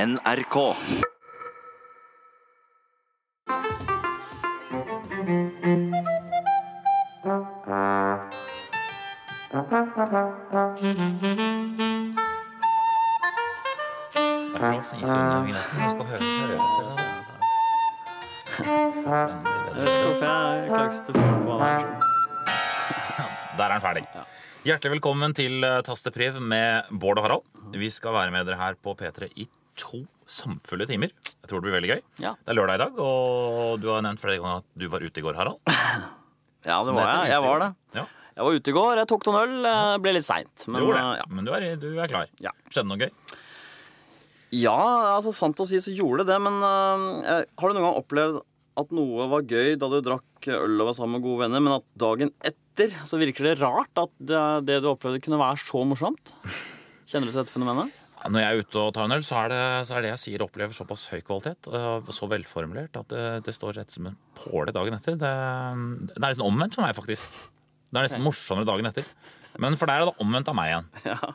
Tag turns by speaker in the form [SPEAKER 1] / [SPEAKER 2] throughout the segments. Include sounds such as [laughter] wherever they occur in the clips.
[SPEAKER 1] NRK.
[SPEAKER 2] Der er den ferdig. Hjertelig velkommen til eh, Tastepriv med Bård og Harald. Vi skal være med dere her på P3 i to samfulle timer. Jeg tror det blir veldig gøy.
[SPEAKER 3] Ja.
[SPEAKER 2] Det er lørdag i dag, og du har nevnt flere ganger at du var ute i går, Harald.
[SPEAKER 3] Ja, det var jeg. Jeg var det.
[SPEAKER 2] Ja,
[SPEAKER 3] Jeg var ute i går, jeg tok noen øl. eh, Ble litt seint.
[SPEAKER 2] du
[SPEAKER 3] Men
[SPEAKER 2] gjorde
[SPEAKER 3] eh,
[SPEAKER 2] det. Men du er, du er klar.
[SPEAKER 3] Ja.
[SPEAKER 2] Skjedde noe gøy?
[SPEAKER 3] ja, altså sant å si så gjorde det det, men eh, har du noen gang opplevd at noe var gøy da du drakk øl og var sammen med gode venner, men at dagen etter så virker det rart at det, det du opplevde, kunne være så morsomt? Kjenner du til dette fenomenet?
[SPEAKER 2] Ja, Når jeg er ute og tar en øl, så er det så er det jeg sier og opplever såpass høy kvalitet og så velformulert at det, det står rett som en påle dagen etter. Det, det er nesten omvendt for meg, faktisk. Det er nesten morsommere dagen etter. Men for der er det omvendt av meg igjen.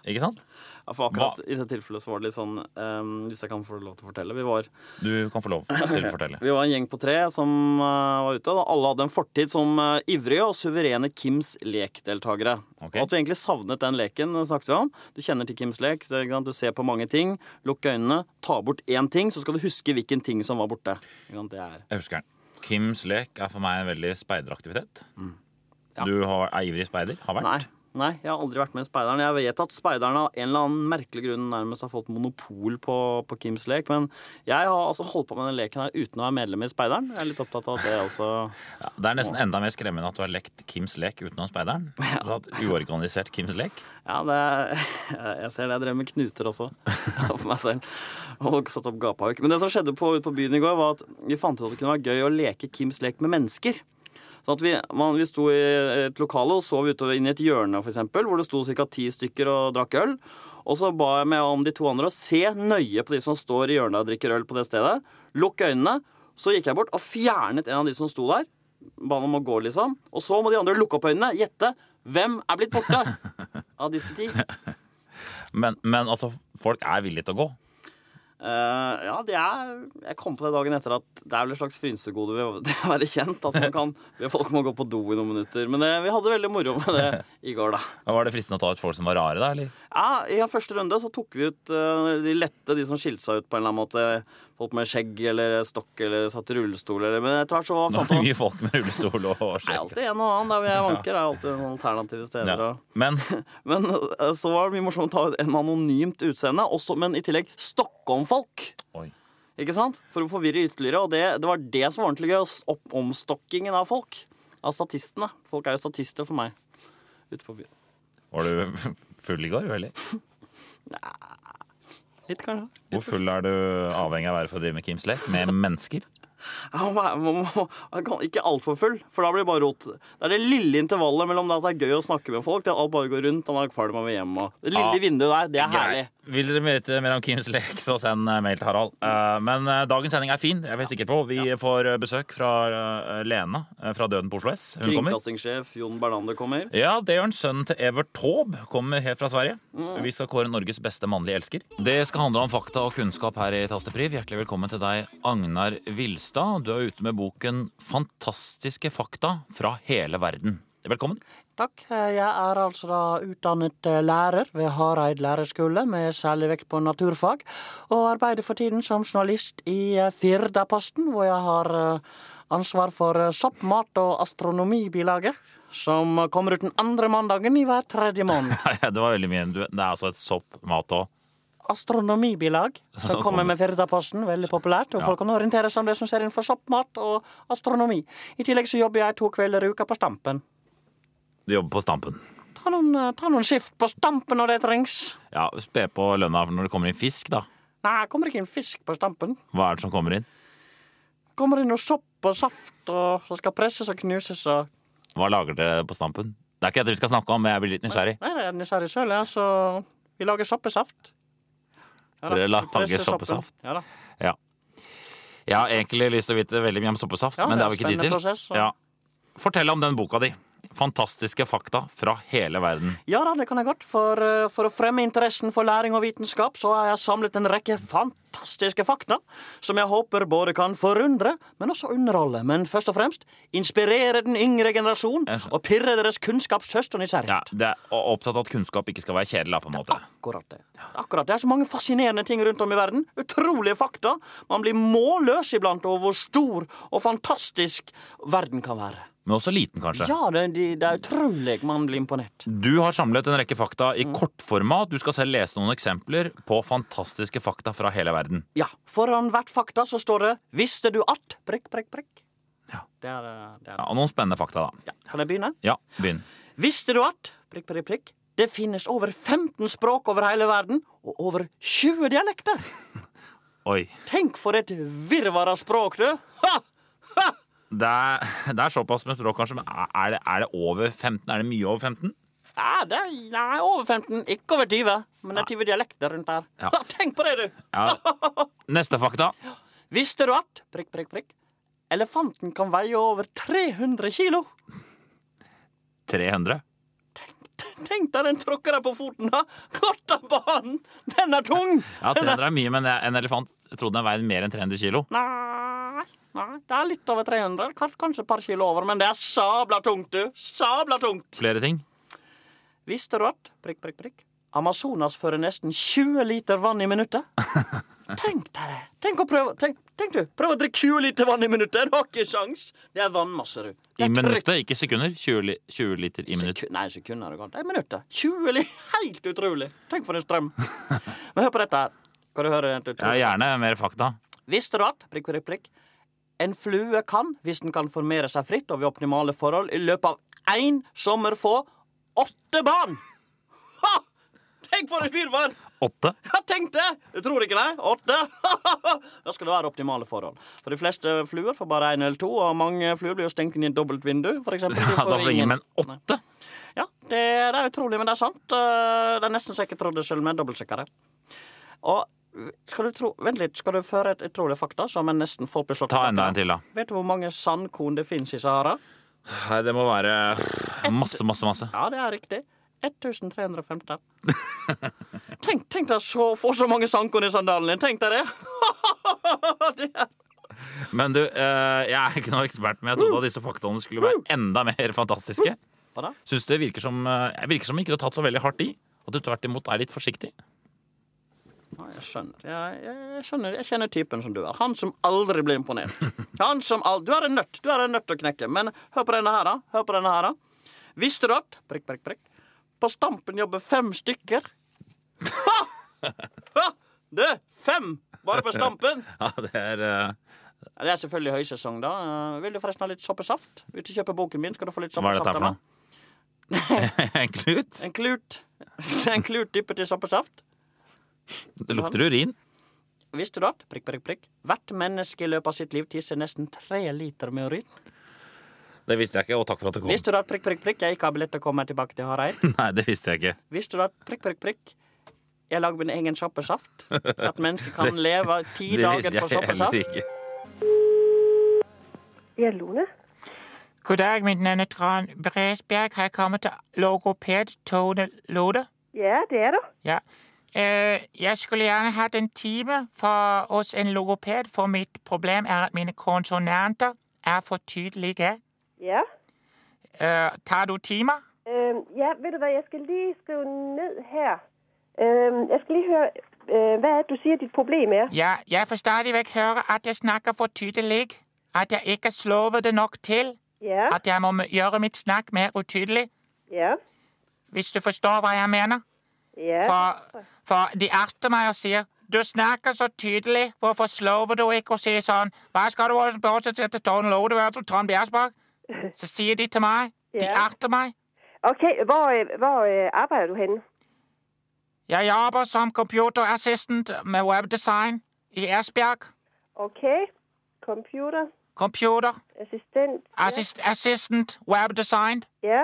[SPEAKER 2] Ikke sant?
[SPEAKER 3] Ja, for akkurat i det tilfellet så var det litt sånn eh, Hvis jeg kan få lov til å fortelle. Vi var
[SPEAKER 2] Du kan få lov til å fortelle.
[SPEAKER 3] Vi var en gjeng på tre som eh, var ute. Da. Alle hadde en fortid som eh, ivrige og suverene Kims lekdeltakere.
[SPEAKER 2] Ok.
[SPEAKER 3] Og At du egentlig savnet den leken, eh, snakket vi om. Du kjenner til Kims lek. Det, er ikke sant, du ser på mange ting. Lukk øynene, ta bort én ting, så skal du huske hvilken ting som var borte. Ikke sant, Det er
[SPEAKER 2] Jeg husker den. Kims lek er for meg en veldig speideraktivitet. Du har, er ivrig speider? Har vært?
[SPEAKER 3] Nei. Nei, jeg har aldri vært med i Speideren. Jeg vet at Speideren av en eller annen merkelig grunn nærmest har fått monopol på, på Kims lek, men jeg har altså holdt på med den leken her uten å være medlem i Speideren. Jeg er litt opptatt av at det også.
[SPEAKER 2] Ja, det er nesten enda mer skremmende at du har lekt Kims lek utenom speideren. Altså at Uorganisert Kims lek.
[SPEAKER 3] Ja, det er, [laughs] jeg ser det. Jeg drev med knuter også. [laughs] For meg selv. Og satt opp gaphauk. Men det som skjedde på, ute på byen i går, var at vi fant ut at det kunne være gøy å leke Kims lek med mennesker. Sånn at vi, man, vi sto i et lokale og sov utover inn i et hjørne, for eksempel, hvor det sto ca. ti stykker og drakk øl. Og så ba jeg meg om de to andre å se nøye på de som står i hjørnet og drikker øl på det stedet. Lukk øynene. Så gikk jeg bort og fjernet en av de som sto der. Ba han om å gå, liksom. Og så må de andre lukke opp øynene, gjette hvem er blitt borte av
[SPEAKER 2] [laughs]
[SPEAKER 3] disse ti.
[SPEAKER 2] Men, men altså, folk er villige til å gå.
[SPEAKER 3] Eh, ja, det er Jeg kom på det dagen etter at det er vel et slags frynsegode ved å [laughs] være kjent. At man kan, folk må gå på do i noen minutter. Men det, vi hadde veldig moro med det i går, da.
[SPEAKER 2] Var det fristende å ta ut folk som var rare, da? eller?
[SPEAKER 3] Ja, I den første runde så tok vi ut eh, de lette, de som skilte seg ut på en eller annen måte. Folk med skjegg eller stokk eller satt i rullestol eller Men etter hvert så
[SPEAKER 2] Nå er
[SPEAKER 3] fant
[SPEAKER 2] det
[SPEAKER 3] man
[SPEAKER 2] mye folk med rullestol og
[SPEAKER 3] Det er
[SPEAKER 2] skjegg.
[SPEAKER 3] alltid en og annen der hvor jeg vanker. Det er alltid noen alternative steder.
[SPEAKER 2] Ja.
[SPEAKER 3] Og. [laughs]
[SPEAKER 2] Men
[SPEAKER 3] Men eh, så var det mye morsomt å ta ut en anonymt utseende, også, men i tillegg stokke om folk.
[SPEAKER 2] Oi.
[SPEAKER 3] Ikke sant? For å forvirre ytterligere. Og det, det var det som var ordentlig gøy. s- Opp omstokkingen av folk. Av statistene. Folk er jo statister for meg. Ute på byen.
[SPEAKER 2] Var du full i går, eller?
[SPEAKER 3] Litt, kanskje.
[SPEAKER 2] Hvor full er du avhengig av å være for å drive med Kims lek? Med
[SPEAKER 3] [laughs]
[SPEAKER 2] mennesker?
[SPEAKER 3] Ja, man, man, må- man kan, ikke altfor full, for da blir det bare rot. Det er det lille intervallet mellom det at det er gøy å snakke med folk, til at alt bare går rundt, og man er ferdig med å hjem. Og det lille
[SPEAKER 2] Ja.
[SPEAKER 3] vinduet der, det er herlig.
[SPEAKER 2] Greit. Vil dere vite mer om Kims lek, så send eh, mail til Harald. Eh, Men eh, dagens sending er fin, jeg er helt sikker på. Vi får eh, besøk fra eh, Lena eh, fra Døden på Oslo S. Hun kommer.
[SPEAKER 3] Kringkastingssjef Jon Bernander kommer.
[SPEAKER 2] Ja, det gjør han. Sønnen til Evert Taube kommer helt fra Sverige. Vi skal kåre Norges beste mannlige elsker. Det skal handle om fakta og kunnskap her i Tastepriv. Hjertelig velkommen til deg, Agnar Vilstad. Du er ute med boken 'Fantastiske fakta fra hele verden'. [laughs] Velkommen.
[SPEAKER 3] Takk. Jeg er altså da utdannet eh, lærer ved Hareid lærerskole, med særlig vekt på naturfag, og arbeider for tiden som journalist i eh, Firdaposten, hvor jeg har eh, ansvar for eh, sopp, mat og astronomibilaget, som eh, kommer ut den andre mandagen i hver tredje måned.
[SPEAKER 2] det var veldig mye. Du- Det er altså et sopp, mat og
[SPEAKER 3] Astronomibilag, som
[SPEAKER 2] Som
[SPEAKER 3] kommer med Firdaposten, veldig populært, og folk kan orientere seg om det som skjer innenfor sopp, mat og astronomi. I tillegg så jobber jeg to kvelder i uka på Stampen.
[SPEAKER 2] Du jobber på Stampen.
[SPEAKER 3] Ta noen, eh, ta noen skift på Stampen når det trengs.
[SPEAKER 2] Ja, Spe på lønna når det kommer inn fisk, da.
[SPEAKER 3] Nei, det kommer ikke en fisk på stampen.
[SPEAKER 2] Hva er det som kommer inn?
[SPEAKER 3] Det Kommer inn noe sopp og saft og som skal presses og knuses og
[SPEAKER 2] Hva lager dere på Stampen? Det er ikke dette vi skal snakke om, men jeg blir litt nysgjerrig.
[SPEAKER 3] Nei, det er jeg nysgjerrig sjøl, ja, så vi lager soppesaft. Ja, da,
[SPEAKER 2] Dere lager
[SPEAKER 3] vi presser soppen.
[SPEAKER 2] soppesaft?
[SPEAKER 3] Ja da.
[SPEAKER 2] Ja. Jeg har egentlig lyst til å vite veldig mye om soppesaft,
[SPEAKER 3] Ja,
[SPEAKER 2] men
[SPEAKER 3] det
[SPEAKER 2] det
[SPEAKER 3] er
[SPEAKER 2] har vi ikke tid
[SPEAKER 3] en
[SPEAKER 2] til.
[SPEAKER 3] spennende prosess, og-
[SPEAKER 2] ja. Fortell om den boka di. fantastiske fakta fra hele verden.
[SPEAKER 3] Ja da, det kan jeg godt. For, eh, for å fremme interessen for læring og vitenskap, så har jeg samlet en rekke fantastiske fakta som jeg håper både kan forundre, men også underholde. Men først og fremst inspirere den yngre generasjon
[SPEAKER 2] Jeg skjønner.
[SPEAKER 3] og pirre deres kunnskapshøst og
[SPEAKER 2] Ja,
[SPEAKER 3] nysgjerrighet.
[SPEAKER 2] det er og opptatt av at kunnskap ikke skal være kjedelig, da, på en måte.
[SPEAKER 3] Akkurat det. Akkurat. Det er så mange fascinerende ting rundt om i verden. Utrolige fakta. Man blir målløs iblant over hvor stor og fantastisk verden kan være.
[SPEAKER 2] Men også liten, kanskje.
[SPEAKER 3] Ja, det, de- det er utrolig. Man blir imponert.
[SPEAKER 2] Du har samlet en rekke fakta
[SPEAKER 3] Mm.
[SPEAKER 2] i kortformat. Du skal selv lese noen eksempler på fantastiske fakta fra hele verden.
[SPEAKER 3] Ja, Foran hvert fakta så står det 'Visste du at?' prikk, prikk, prikk. Ja. Det er, eh, det er.
[SPEAKER 2] Ja, og noen spennende fakta, da.
[SPEAKER 3] Ja. Kan jeg begynne?
[SPEAKER 2] Ja, begynn.
[SPEAKER 3] Visste du at prikk, prikk, prikk, det finnes over 15 språk over hele verden, og over 20 dialekter?
[SPEAKER 2] Oi.
[SPEAKER 3] Tenk for et virvar av språk, du! Ha!
[SPEAKER 2] Det er, [laughs] det er såpass med språk, kanskje, men er det, er det over 15? Er det mye over 15?
[SPEAKER 3] Ja, det er, nei, over 15, ikke over 20. Men det er 20 dialekter rundt her.
[SPEAKER 2] Ja.
[SPEAKER 3] Ha, [laughs] Tenk på det, du! [laughs]
[SPEAKER 2] Ja. Neste fakta.
[SPEAKER 3] Visste du at prikk, prikk, prikk, elefanten kan veie over 300 kilo? [laughs]
[SPEAKER 2] 300.
[SPEAKER 3] Tenk deg den tråkker deg på foten, da! [laughs] Kattabanen! Den er tung!
[SPEAKER 2] [laughs] Ja, 300 er mye, men en elefant jeg trodde den veide mer enn 300 kilo.
[SPEAKER 3] Nei, nei, det er litt over 300. Kans- Kanskje et par kilo over, men det er sabla tungt, du! Sabla tungt!
[SPEAKER 2] Flere ting.
[SPEAKER 3] Visste du at prikk, prikk, prikk, Amazonas fører nesten 20 liter vann i
[SPEAKER 2] [laughs]
[SPEAKER 3] minuttet? Tenk deg det! Tenk å prøve tenk, tenk du, prøv å drikke 20 liter vann i minuttet! Du har ikke sjans! Det er vannmasse, du. Det
[SPEAKER 2] I
[SPEAKER 3] er trykk.
[SPEAKER 2] minuttet, ikke sekunder. 20, li 20 liter i minuttet.
[SPEAKER 3] Seku- Nei, sekunder er det godt. Det er minutter. 20 li- [laughs] Helt utrolig! Tenk for en strøm.
[SPEAKER 2] [laughs]
[SPEAKER 3] Men hør på dette her. Kan du høre? et
[SPEAKER 2] Ja,
[SPEAKER 3] utrolig?
[SPEAKER 2] gjerne mer fakta.
[SPEAKER 3] Visste du at prikk, prikk, prikk, en flue kan, hvis den kan formere seg fritt og ved optimale forhold, i løpet av én sommer få åtte barn? Ha! Tenk for et virvar!
[SPEAKER 2] Åtte.
[SPEAKER 3] Ja, tenk det! Du tror ikke, nei? Åtte? [laughs] da skal det være optimale forhold. For de fleste fluer får bare én eller to, og mange fluer blir jo stengt inn i et dobbelt vindu,
[SPEAKER 2] [laughs]
[SPEAKER 3] for eksempel. De
[SPEAKER 2] Ja, da får ingen, men
[SPEAKER 3] Nei.
[SPEAKER 2] åtte?
[SPEAKER 3] Ja, det, det er utrolig, men det er sant. Eh, Det er nesten så jeg ikke trodde selv med dobbeltsjekkere. Og skal du tro, vent litt, skal du føre et utrolig fakta som jeg nesten får beslått?
[SPEAKER 2] Ta enda en til, da.
[SPEAKER 3] Vet du hvor mange sandkorn det finnes i Sahara?
[SPEAKER 2] Nei, det må være masse, masse, masse.
[SPEAKER 3] Ja, det er riktig. 1315. [laughs] tenk, tenk deg så, få så mange sandkorn i sandalen din. Tenk deg det. [laughs] det er,
[SPEAKER 2] Men du, eh, jeg er ikke noe ekspert, men jeg trodde at disse faktaene skulle være enda mer fantastiske.
[SPEAKER 3] hva da?
[SPEAKER 2] Syns det virker som eh, jeg virker som ikke du har tatt så veldig hardt i. At du tvert imot er litt forsiktig.
[SPEAKER 3] Ja, jeg skjønner. Jeg, jeg, jeg skjønner. Jeg kjenner typen som du er. Han som aldri blir imponert. Han som al du er en nøtt. Du er en nøtt å knekke. Men hør på denne her, da. Hør på denne her, da. Visste du at prikk, prikk, prikk. På Stampen jobber fem stykker. [laughs] Ha! Ha! Du, fem bare på Stampen.
[SPEAKER 2] Ja, det er eh,
[SPEAKER 3] Ja, Det er selvfølgelig høysesong, da. Eh, Vil du forresten ha litt soppesaft? Hvis du kjøper boken min, skal du få litt
[SPEAKER 2] Hva er
[SPEAKER 3] soppesaft.
[SPEAKER 2] dette her
[SPEAKER 3] av
[SPEAKER 2] for
[SPEAKER 3] meg.
[SPEAKER 2] noe? [laughs] En klut?
[SPEAKER 3] En klut. [laughs] En klut dyppet i soppesaft.
[SPEAKER 2] Det lukter urin.
[SPEAKER 3] Visste du at prikk, prikk, prikk, hvert menneske i løpet av sitt liv tisser nesten tre liter med urin?
[SPEAKER 2] Det visste jeg ikke, og takk for at det kom.
[SPEAKER 3] Visste du at prikk, prikk, prikk, jeg ikke har billett til å komme tilbake til Hareid?
[SPEAKER 2] [laughs] Nei, det visste jeg ikke.
[SPEAKER 3] Visste du at prikk, prikk, prikk, jeg lager min egen soppesaft? At mennesker kan leve ti
[SPEAKER 2] [laughs] Det visste
[SPEAKER 3] dager på
[SPEAKER 2] jeg heller
[SPEAKER 3] soppesaft?
[SPEAKER 2] ikke.
[SPEAKER 1] Gjelone?
[SPEAKER 4] God dag, mitt navn er Tran Bresbjerg. Har jeg kommet til logoped Tone Lode?
[SPEAKER 1] Ja, det er det.
[SPEAKER 4] Ja. Eh, jeg skulle gjerne hatt en time for, hos en logoped, for mitt problem er at mine konsonanter er for tydelige.
[SPEAKER 1] Ja.
[SPEAKER 4] Eh, tar du timer?
[SPEAKER 1] Øhm, ja, ved du hvad, jeg skal lige skrive ned her. Øhm, jeg skal lige høre, øh, hvad er det, du siger, dit problem er?
[SPEAKER 4] Ja, jeg får stadig vekk høre at jeg snakker for tydelig. At jeg ikke slår det nok til.
[SPEAKER 1] Ja,
[SPEAKER 4] At jeg må gjøre mitt snakk mer utydelig.
[SPEAKER 1] ja,
[SPEAKER 4] Hvis du forstår hva jeg mener?
[SPEAKER 1] ja.
[SPEAKER 4] For, for de erter meg og sier Du snakker så tydelig, hvorfor slover du ikke og sier sånn Hva skal du også bortsette til Tone Lode, hva er det, Trond
[SPEAKER 1] [laughs]
[SPEAKER 4] Bjergsberg? Så sier de til meg De
[SPEAKER 1] Ja.
[SPEAKER 4] erter meg.
[SPEAKER 1] Okay, hvor, øh, hvor øh, arbejder du henne?
[SPEAKER 4] Jeg jobber som computer assistant med webdesign i Esbjerg.
[SPEAKER 1] Okay, computer,
[SPEAKER 4] Computer
[SPEAKER 1] assistent.
[SPEAKER 4] assist, assistant webdesign.
[SPEAKER 1] Ja,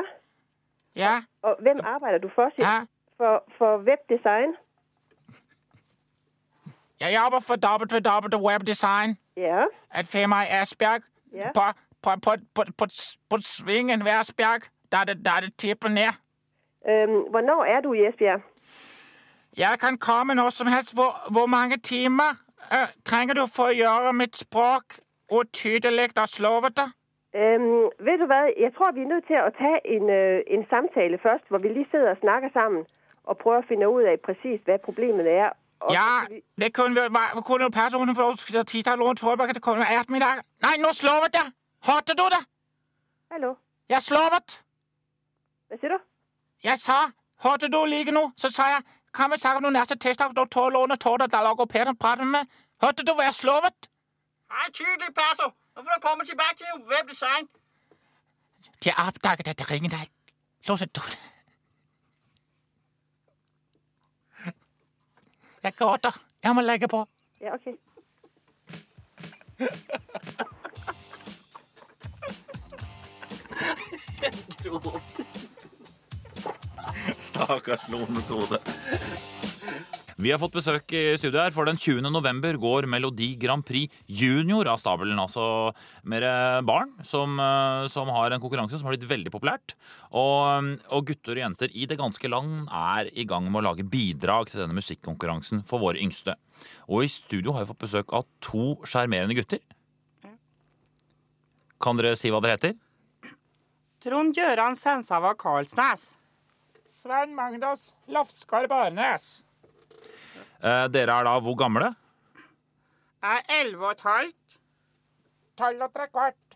[SPEAKER 4] Ja.
[SPEAKER 1] og hvem arbejder du for? siger
[SPEAKER 4] ja.
[SPEAKER 1] du? For, for webdesign?
[SPEAKER 4] Jeg jobber for WW Webdesign,
[SPEAKER 1] Ja,
[SPEAKER 4] et firma i Esbjerg.
[SPEAKER 1] Ja.
[SPEAKER 4] På, på, på, på, på, på Svingen ved Esbjerg. da det, da det tipper ned.
[SPEAKER 1] Øhm, hvornår er du i Esbjerg?
[SPEAKER 4] Jeg kan komme når som helst. Hvor, hvor mange timer eh, trenger du for å gjøre mitt språk utydelig og slovete?
[SPEAKER 1] Øhm, ved du hvad, jeg tror, vi er nødt til at tage en, øh, en samtale først, hvor vi lige sidder og snakker sammen og prøver at finde ud af præcis, hvad problemet er. Og
[SPEAKER 4] Ja,
[SPEAKER 1] så kan vi-
[SPEAKER 4] det kunne vi- var- kunne personen fra Oslo titallet rundt forberedt. Det kunne være ettermiddag. Nei, nå slovet jeg! Hørte du det?
[SPEAKER 1] Hallo,
[SPEAKER 4] Jeg slovet!
[SPEAKER 1] hvad siger du?
[SPEAKER 4] Jeg sa Hørte du like nå? Så sa jeg Kan vi snakke om noen neste tirsdag når tårlånet tåler da logopeden prater med? Hørte du hva jeg slovet?
[SPEAKER 3] Hej, tydelig passer. Nu får du komme tilbage til webdesign.
[SPEAKER 4] De har oppdaget at jeg ringer deg. Låset du det? Jeg gråter. Jeg må legge på.
[SPEAKER 1] Ja, okay.
[SPEAKER 2] Stakkars Lone Tode. Vi har fått besøk i studio her, for den 20. november går Melodi Grand Prix Junior av stabelen. Altså mer eh, barn som, eh, som har en konkurranse som har blitt veldig populært. Og, eh, og gutter og jenter i det ganske land er i gang med å lage bidrag til denne musikkonkurransen for våre yngste. Og i studio har vi fått besøk av to sjarmerende gutter. Kan dere si hva dere heter?
[SPEAKER 3] Trond Gjøran Sensava Karlsnes.
[SPEAKER 4] Svein Magnus Lofsgaard Barnes.
[SPEAKER 2] Eh, Dere er da hvor gamle?
[SPEAKER 3] Er 11 og et halvt.
[SPEAKER 4] Tolv og tre kvart.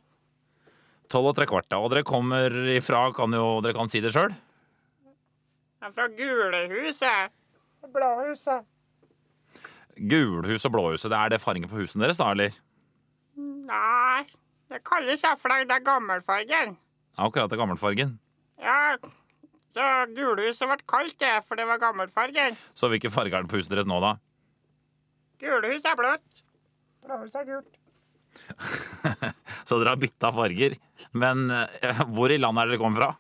[SPEAKER 2] Tolv og tre kvart, ja. Og dere kommer ifra, kan jo dere kan si det sjøl.
[SPEAKER 3] Er fra Gulehuset.
[SPEAKER 4] Bladhuset.
[SPEAKER 2] Gulhus og Blåhuset, det er det fargen på husene deres, da, eller?
[SPEAKER 3] Nei, det kalles Eflag, det er gammelfargen.
[SPEAKER 2] Ja, akkurat det gammelfargen.
[SPEAKER 3] Ja, så Gulehuset ble kalt det, for det var gammelfargen.
[SPEAKER 2] Så hvilken farge er det på huset deres nå, da?
[SPEAKER 3] Gulehus er blått.
[SPEAKER 4] Bladhuset er gult.
[SPEAKER 2] Så dere har bytta farger. Men eh, hvor i landet er dere kommet fra?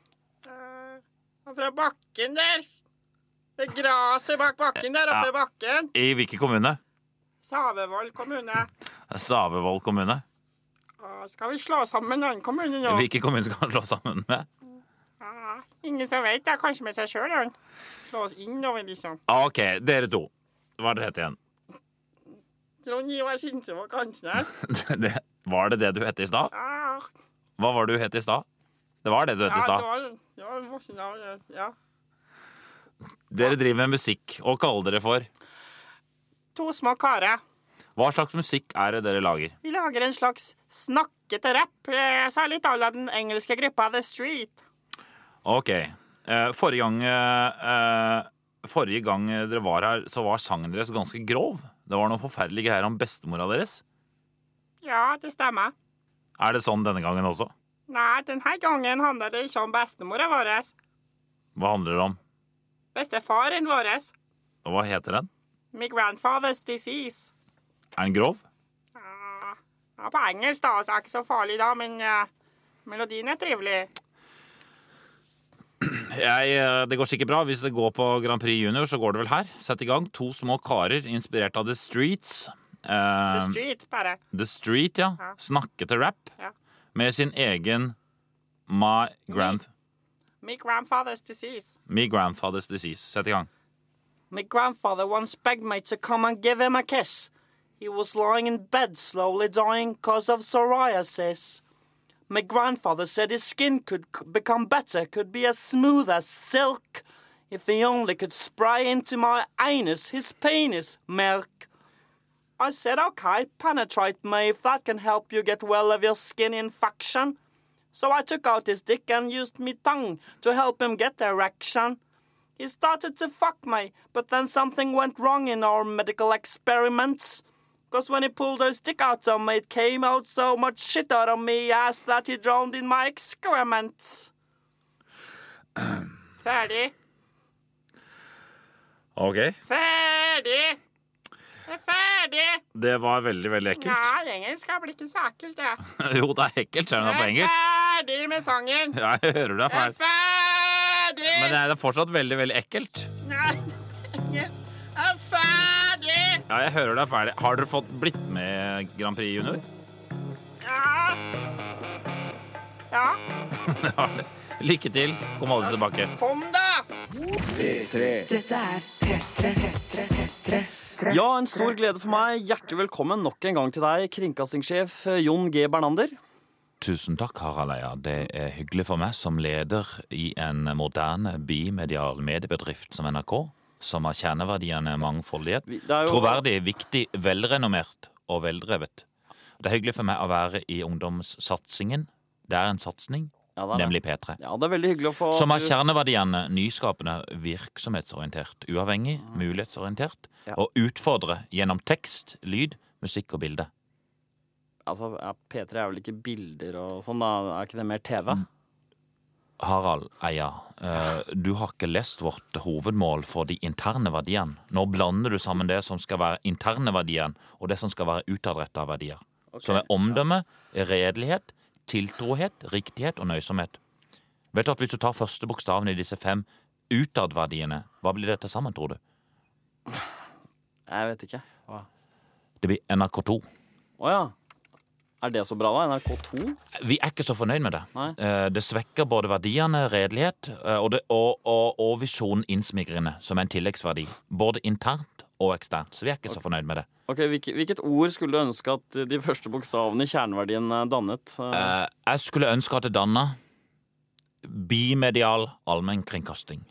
[SPEAKER 3] Og fra bakken der. Det graset bak bakken der, oppe i bakken.
[SPEAKER 2] I hvilken kommune?
[SPEAKER 3] Savevoll kommune.
[SPEAKER 2] Savevoll kommune.
[SPEAKER 3] Å, Skal vi slå sammen en annen kommune nå?
[SPEAKER 2] Hvilken kommune skal dere slå sammen med?
[SPEAKER 3] Ja, ingen som vet det. Kanskje med seg sjøl, han. Slå oss innover, liksom.
[SPEAKER 2] Ah, OK, dere to. Hva er dere het igjen? [laughs]
[SPEAKER 3] Trond Ivar Sinsvold Kansnes.
[SPEAKER 2] Det, var det det du het i stad?
[SPEAKER 3] Ja,
[SPEAKER 2] Hva var det du het i stad? Det var det du
[SPEAKER 3] Ah, ja,
[SPEAKER 2] het i
[SPEAKER 3] det
[SPEAKER 2] stad.
[SPEAKER 3] var, det var masse navn. ja. Ja.
[SPEAKER 2] Dere driver med musikk. Og kaller dere for
[SPEAKER 3] To små karer.
[SPEAKER 2] Hva slags musikk er det dere lager?
[SPEAKER 3] Vi lager en slags snakkete rapp, eh, så er litt à la den engelske gruppa The Street.
[SPEAKER 2] Ok. Eh, forrige gang eh, eh, Forrige gang dere var her, så var sangen deres ganske grov. Det var noen forferdelige greier om bestemora deres.
[SPEAKER 3] Ja, det stemmer.
[SPEAKER 2] Er det sånn denne gangen også?
[SPEAKER 3] Nei, denne gangen handler det ikke om bestemora vår.
[SPEAKER 2] Hva handler det om?
[SPEAKER 3] Bestefaren vår.
[SPEAKER 2] Og hva heter den?
[SPEAKER 3] My grandfather's disease.
[SPEAKER 2] Er den grov?
[SPEAKER 3] Ja, ja, på engelsk, da, så er det ikke så farlig da, men eh, melodien er trivelig.
[SPEAKER 2] Jeg, eh, det går sikkert bra. Hvis det går på Grand Prix Junior, så går det vel her. Sett i gang. To små karer inspirert av The Streets. Eh,
[SPEAKER 3] The Street, bare.
[SPEAKER 2] The Street, ja.
[SPEAKER 3] Ja.
[SPEAKER 2] Snakkete rap.
[SPEAKER 3] Ja.
[SPEAKER 2] Med sin egen My Grand...
[SPEAKER 3] My grandfather's disease.
[SPEAKER 2] Me Grandfather's Disease. Sett i gang.
[SPEAKER 3] My grandfather once begged me to come and give him a kiss. He was lying in bed, slowly dying 'cause of psoriasis. My grandfather said his skin could c- become better, could be as smooth as silk, if he only could spray into my anus his penis milk. I said, okay, penetrate me if that can help you get well of your skin infection. So I took out his dick and used me tongue to help him get erection. He started to fuck me, but then something went wrong in our medical experiments. 'Cause when he pulled his dick out of me, it came out so much shit out of me ass that he drowned in my excrements. [clears throat] Ferdig.
[SPEAKER 2] Ok.
[SPEAKER 3] Ferdig. Det er ferdig.
[SPEAKER 2] Det var veldig, veldig ekkelt.
[SPEAKER 3] Nei, engelsk er vel ikke så ekkelt,
[SPEAKER 2] [laughs]
[SPEAKER 3] det.
[SPEAKER 2] Jo, det er ekkelt, selv om det er på
[SPEAKER 3] Jeg er
[SPEAKER 2] engelsk.
[SPEAKER 3] ferdig med sangen.
[SPEAKER 2] [laughs] Ja, jeg hører det er
[SPEAKER 3] Jeg er
[SPEAKER 2] feil.
[SPEAKER 3] ferdig.
[SPEAKER 2] Men det er fortsatt veldig, veldig ekkelt.
[SPEAKER 3] Nei, jeg er ferdig.
[SPEAKER 2] Ja, jeg hører det er ferdig. Har dere fått blitt med Grand Prix Junior?
[SPEAKER 3] Ja.
[SPEAKER 5] Ja,
[SPEAKER 2] Lykke til. Kom aldri tilbake.
[SPEAKER 5] kom da!
[SPEAKER 6] Dette er P3. P3, P3.
[SPEAKER 3] Ja, en stor glede for meg. Hjertelig velkommen nok en gang til deg, kringkastingssjef eh, Jon G. Bernander.
[SPEAKER 2] Tusen takk, Harald Eia. Det er hyggelig for meg som leder i en moderne bimedial mediebedrift som NRK, som har kjerneverdiene mangfoldighet,
[SPEAKER 3] Vi- det er jo-
[SPEAKER 2] troverdig, viktig, velrenommert og veldrevet. Det er hyggelig for meg å være i ungdomssatsingen. Det er en satsing,
[SPEAKER 3] Ja, det er det.
[SPEAKER 2] nemlig P3.
[SPEAKER 3] Ja, det er veldig hyggelig å få
[SPEAKER 2] Som har
[SPEAKER 3] du-
[SPEAKER 2] kjerneverdiene nyskapende, virksomhetsorientert, uavhengig, mulighetsorientert,
[SPEAKER 3] Mm. Ja.
[SPEAKER 2] og utfordre gjennom tekst, lyd, musikk og bilde.
[SPEAKER 3] Altså, ja, P3 er vel ikke bilder og sånn, da? Er ikke det mer TV?
[SPEAKER 2] Mm. Harald Eia, eh, du har ikke lest vårt hovedmål for de interne verdiene. Nå blander du sammen det som skal være interne verdien, og det som skal være utadretta verdier. Som er omdømme, redelighet, tiltrohet, riktighet og nøysomhet. Vet du at Hvis du tar første bokstaven i disse fem utadverdiene, hva blir det til sammen, tror du?
[SPEAKER 3] Jeg vet ikke. Å
[SPEAKER 2] Det blir NRK2.
[SPEAKER 3] ja. Er det så bra, da? NRK2?
[SPEAKER 2] Vi er ikke så fornøyd med det.
[SPEAKER 3] Nei.
[SPEAKER 2] Eh, Det svekker både verdiene, redelighet eh, og, det- og, og, og visjonen innsmigrende, som er en tilleggsverdi. Både internt og eksternt. Så vi er ikke så fornøyd med det.
[SPEAKER 3] Ok, hvilket, hvilket ord skulle du ønske at de første bokstavene i kjerneverdien eh, dannet? Eh,
[SPEAKER 2] Eh, Jeg skulle ønske at det danna bimedial allmennkringkasting.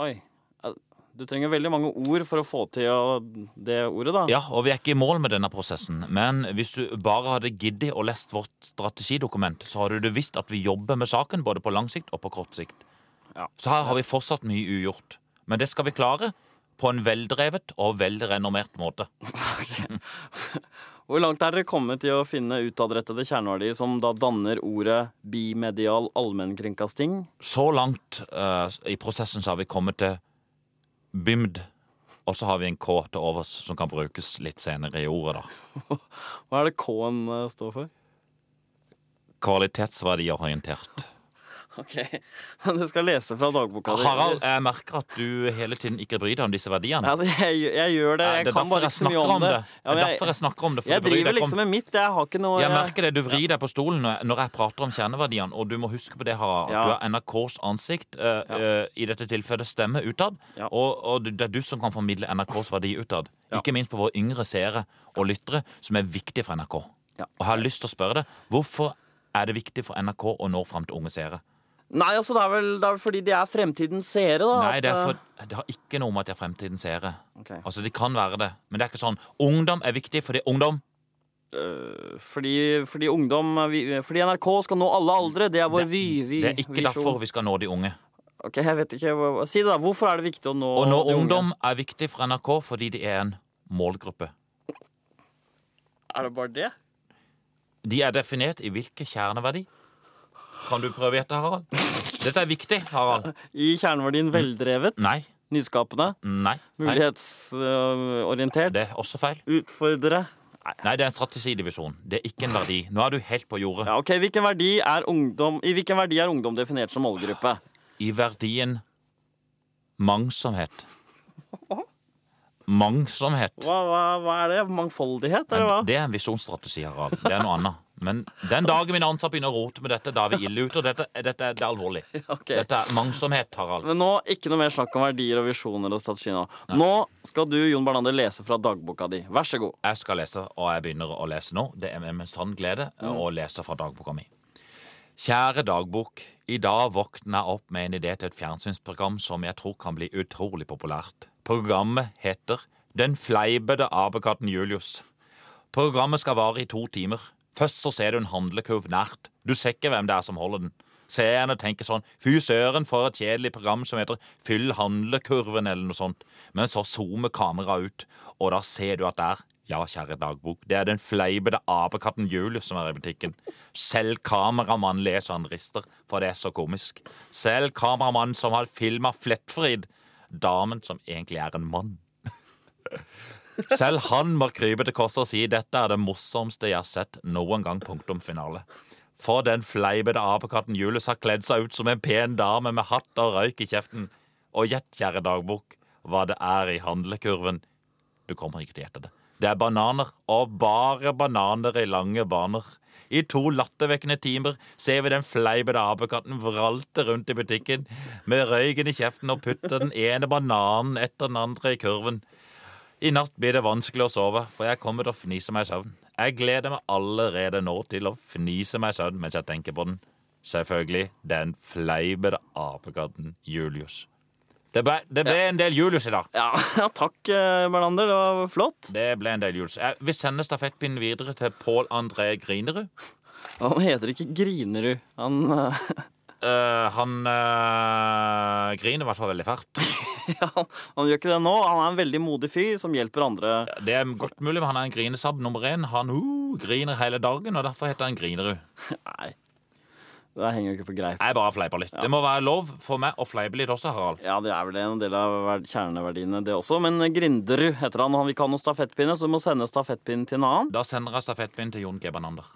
[SPEAKER 3] Oi. Eh, Du trenger veldig mange ord for å få til å, det ordet, da.
[SPEAKER 2] Ja, og vi er ikke i mål med denne prosessen, men hvis du bare hadde giddet å lest vårt strategidokument, så hadde du visst at vi jobber med saken både på lang sikt og på kort sikt.
[SPEAKER 3] Ja.
[SPEAKER 2] Så her har vi fortsatt mye ugjort. Men det skal vi klare på en veldrevet og velrenommert måte.
[SPEAKER 3] [laughs] Hvor langt er dere kommet i å finne utadrettede kjerneverdier som da danner ordet bimedial allmennkringkasting?
[SPEAKER 2] Så langt eh, i prosessen så har vi kommet til BIMD, og så har vi en K til overs som kan brukes litt senere i ordet, da.
[SPEAKER 3] Hva er det K-en eh, står for?
[SPEAKER 2] Kvalitetsverdiorientert.
[SPEAKER 3] Ok, [laughs] Men du skal lese fra dagboka di.
[SPEAKER 2] Harald, jeg merker at du hele tiden ikke bryr deg om disse verdiene.
[SPEAKER 3] Altså, jeg, jeg gjør det.
[SPEAKER 2] Eh,
[SPEAKER 3] Jeg
[SPEAKER 2] det er
[SPEAKER 3] kan
[SPEAKER 2] derfor
[SPEAKER 3] bare
[SPEAKER 2] jeg
[SPEAKER 3] ikke så mye
[SPEAKER 2] snakker
[SPEAKER 3] om det.
[SPEAKER 2] Det
[SPEAKER 3] Ja,
[SPEAKER 2] er
[SPEAKER 3] men
[SPEAKER 2] derfor jeg snakker om det. for
[SPEAKER 3] jeg
[SPEAKER 2] du bryr
[SPEAKER 3] driver
[SPEAKER 2] deg ikke om-
[SPEAKER 3] liksom med mitt. Jeg har ikke noe
[SPEAKER 2] Jeg merker det. Du vrir deg på stolen når jeg- når jeg prater om kjerneverdiene, og du må huske på det, Harald. at
[SPEAKER 3] Ja.
[SPEAKER 2] Du er NRKs ansikt, eh, eh, i dette tilfellet stemme utad,
[SPEAKER 3] Ja.
[SPEAKER 2] og, og det er du som kan formidle NRKs verdi utad.
[SPEAKER 3] Ja.
[SPEAKER 2] Ikke minst på våre yngre seere og lyttere, som er viktige for NRK.
[SPEAKER 3] Ja.
[SPEAKER 2] Og jeg har lyst til å spørre deg, hvorfor er det viktig for NRK å nå fram til unge seere?
[SPEAKER 3] Nei, altså, det er vel det er vel fordi de er fremtidens seere, da.
[SPEAKER 2] Nei,
[SPEAKER 3] at,
[SPEAKER 2] det, er
[SPEAKER 3] eh,
[SPEAKER 2] for, det har ikke noe med at de er fremtidens seere.
[SPEAKER 3] Ok.
[SPEAKER 2] Altså, de kan være det, men det er ikke sånn. Ungdom er viktig fordi ungdom
[SPEAKER 3] eh, fordi, fordi ungdom vi, Fordi NRK skal nå alle aldre. Det er vår vy, vi,
[SPEAKER 2] Det er ikke
[SPEAKER 3] visjon.
[SPEAKER 2] derfor vi skal nå de unge.
[SPEAKER 3] Ok, jeg vet ikke. hva- Si det, da. Hvorfor er det viktig å nå
[SPEAKER 2] Og nå
[SPEAKER 3] de unge?
[SPEAKER 2] ungdom er viktig for NRK fordi de er en målgruppe.
[SPEAKER 3] Er det bare det?
[SPEAKER 2] De er definert i hvilken kjerneverdi? Kan du prøve å gjette, Harald? Dette er viktig, Harald.
[SPEAKER 3] I kjerneverdien veldrevet,
[SPEAKER 2] Nei.
[SPEAKER 3] nyskapende,
[SPEAKER 2] Nei. nei.
[SPEAKER 3] mulighetsorientert,
[SPEAKER 2] Det er også feil.
[SPEAKER 3] utfordre
[SPEAKER 2] Nei, det er en strategidivisjon. Det er ikke en verdi. Nå er du helt på jordet.
[SPEAKER 3] ja, ok, hvilken verdi er ungdom, I hvilken verdi er ungdom definert som målgruppe?
[SPEAKER 2] I verdien mangsomhet. Mangsomhet.
[SPEAKER 3] Hva, hva, hva er det? Mangfoldighet, eller hva?
[SPEAKER 2] Det er en visjonsstrategi, Harald. Det er noe annet. Men den dagen mine ansatte begynner å rote med dette, da er vi ille ute. Og dette, dette er, det er alvorlig.
[SPEAKER 3] Ok.
[SPEAKER 2] Dette er mangsomhet, Harald.
[SPEAKER 3] Men nå, ikke noe mer snakk om verdier og visjoner og strategi nå. Nå skal du, Jon Bernander, lese fra dagboka di. Vær så god.
[SPEAKER 2] Jeg skal lese, og jeg begynner å lese nå. Det er med en sann glede å lese fra dagboka mi. Kjære dagbok. I dag våkna jeg opp med en idé til et fjernsynsprogram som jeg tror kan bli utrolig populært. Programmet heter Den fleipete apekatten Julius. Programmet skal vare i to timer. Først så ser du en handlekurv nært. Du ser ikke hvem det er som holder den. Seerne tenker sånn Fy søren, for et kjedelig program som heter Fyll handlekurven, eller noe sånt. Men så zoomer kameraet ut, og da ser du at det er ja, kjære dagbok, det er den fleipete apekatten Julius som er i butikken. Selv kameramannen ler så han rister, for det er så komisk. Selv kameramannen som har filma Flettfrid, damen som egentlig er en mann. Selv han må krype til korset og si dette er det morsomste jeg har sett noen gang. Punktum finale. For den fleipete apekatten Julius har kledd seg ut som en pen dame med hatt og røyk i kjeften. Og gjett, kjære dagbok, hva det er i handlekurven. Du kommer ikke til å gjette det. Det er bananer, og bare bananer i lange baner. I to lattervekkende timer ser vi den fleipete apekatten vralte rundt i butikken med røyken i kjeften og putter den ene bananen etter den andre i kurven. I natt blir det vanskelig å sove, for jeg kommer til å fnise meg i søvn. Jeg gleder meg allerede nå til å fnise meg i søvn mens jeg tenker på den. Selvfølgelig den fleipete apekatten Julius. Det ble, det ble en del Julius i dag.
[SPEAKER 3] Ja, [laughs] ja takk, eh, Bernander. Det var flott.
[SPEAKER 2] Det ble en del juls. Jeg vil sende stafettpinnen videre til Pål André Grinerud.
[SPEAKER 3] Han heter ikke Grinerud. Han eh,
[SPEAKER 2] Eh, han eh, griner i hvert fall veldig fælt.
[SPEAKER 3] ja, [laughs] han, han gjør ikke det nå. Han er en veldig modig fyr som hjelper andre.
[SPEAKER 2] Det er godt mulig, men han er en grinesabb nummer én. Han uh, griner hele dagen, og derfor heter han Grinerud.
[SPEAKER 3] Nei, det henger jo ikke på greip.
[SPEAKER 2] Jeg bare fleiper litt. Det må være lov for meg å fleipe litt også, Harald.
[SPEAKER 3] Ja, det er vel en del av verd- kjerneverdiene, det også. Men Grinderud heter han, og han vil ikke ha noen stafettpinne, så du må sende stafettpinnen til en annen.
[SPEAKER 2] Da sender jeg stafettpinnen til Jon G. Bernander.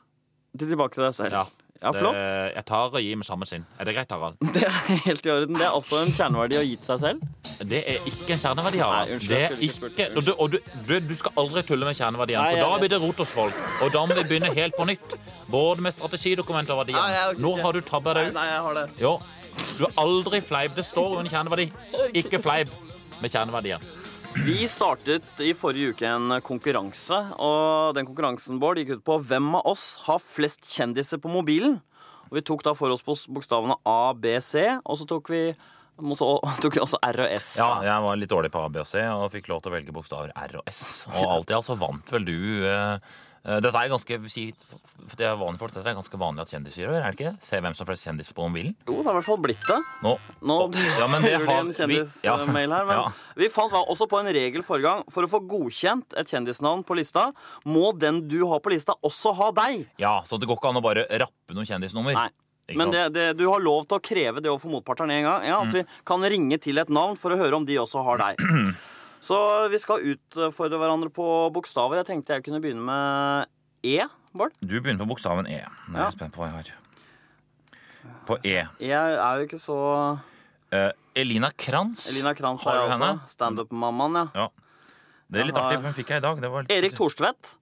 [SPEAKER 3] Til tilbake til deg selv.
[SPEAKER 2] Ja.
[SPEAKER 3] ja flott.
[SPEAKER 2] Det, jeg tar og gir med samme sinn. Er det greit, Harald?
[SPEAKER 3] [laughs] Det er helt i orden. Det er også en kjerneverdi å gi til seg selv.
[SPEAKER 2] Det er ikke en kjerneverdi, Harald.
[SPEAKER 3] Nei, unnskyld,
[SPEAKER 2] det
[SPEAKER 3] jeg
[SPEAKER 2] er
[SPEAKER 3] skulle ikke spurt.
[SPEAKER 2] ikke, og du, og du, du, du skal aldri tulle med kjerneverdiene,
[SPEAKER 3] Nei, jeg
[SPEAKER 2] for da
[SPEAKER 3] vet.
[SPEAKER 2] blir det rot hos folk. Og da må vi begynne helt på nytt. Både med strategidokumenter og
[SPEAKER 3] Nei, jeg
[SPEAKER 2] verdier.
[SPEAKER 3] orker
[SPEAKER 2] Nå
[SPEAKER 3] ikke.
[SPEAKER 2] har du tabba deg ut.
[SPEAKER 3] Nei, jeg har det.
[SPEAKER 2] Jo, du er aldri fleip. Det står under kjerneverdi. Ikke fleip med kjerneverdier.
[SPEAKER 3] Vi startet i forrige uke en konkurranse, og den konkurransen Bård gikk ut på hvem av oss har flest kjendiser på mobilen. Og vi tok da for oss bos- bokstavene A, B, C, og så tok vi, og så [laughs] tok vi også R og S.
[SPEAKER 2] Ja, jeg var litt dårlig på A, B og C og fikk lov til å velge bokstaver R og S. Og alt i alt så vant vel du eh, eh, Dette er ganske si, for det er vanlige folk, dette er ganske vanlig at kjendiser gjør, er det ikke? det? Se hvem som har flest kjendiser på mobilen.
[SPEAKER 3] Jo, det har i hvert fall blitt det.
[SPEAKER 2] Nå,
[SPEAKER 3] Nå
[SPEAKER 2] Ja, men det
[SPEAKER 3] [laughs] hører du
[SPEAKER 2] har-
[SPEAKER 3] en
[SPEAKER 2] vi- ja.
[SPEAKER 3] kjendismail her. Men
[SPEAKER 2] Ja.
[SPEAKER 3] vi fant var også på en regel forrige gang. For å få godkjent et kjendisnavn på lista, må den du har på lista, også ha deg.
[SPEAKER 2] Ja, så det går ikke an å bare rappe noen kjendisnummer.
[SPEAKER 3] Nei.
[SPEAKER 2] Ikke
[SPEAKER 3] Men
[SPEAKER 2] sant? Mm.
[SPEAKER 3] det, det, du har lov til å kreve det overfor motpartene en gang. Ja, at vi kan ringe til et navn for å høre om de også
[SPEAKER 2] [clears throat]
[SPEAKER 3] har deg. Så vi skal utfordre hverandre på bokstaver. Jeg tenkte jeg kunne begynne med E. Bård?
[SPEAKER 2] Du begynner på bokstaven E. Nå er
[SPEAKER 3] Ja.
[SPEAKER 2] jeg spent på hva jeg har. På E.
[SPEAKER 3] E er jo ikke så
[SPEAKER 2] Eh, Elina Kranz.
[SPEAKER 3] Elina Kranz
[SPEAKER 2] Har
[SPEAKER 3] har jeg
[SPEAKER 2] du henne?
[SPEAKER 3] også. Standup-mammaen, ja.
[SPEAKER 2] Ja. Det er litt
[SPEAKER 3] Jeg har-
[SPEAKER 2] artig, for den fikk jeg i dag. Det var litt...
[SPEAKER 3] Erik Thorstvedt.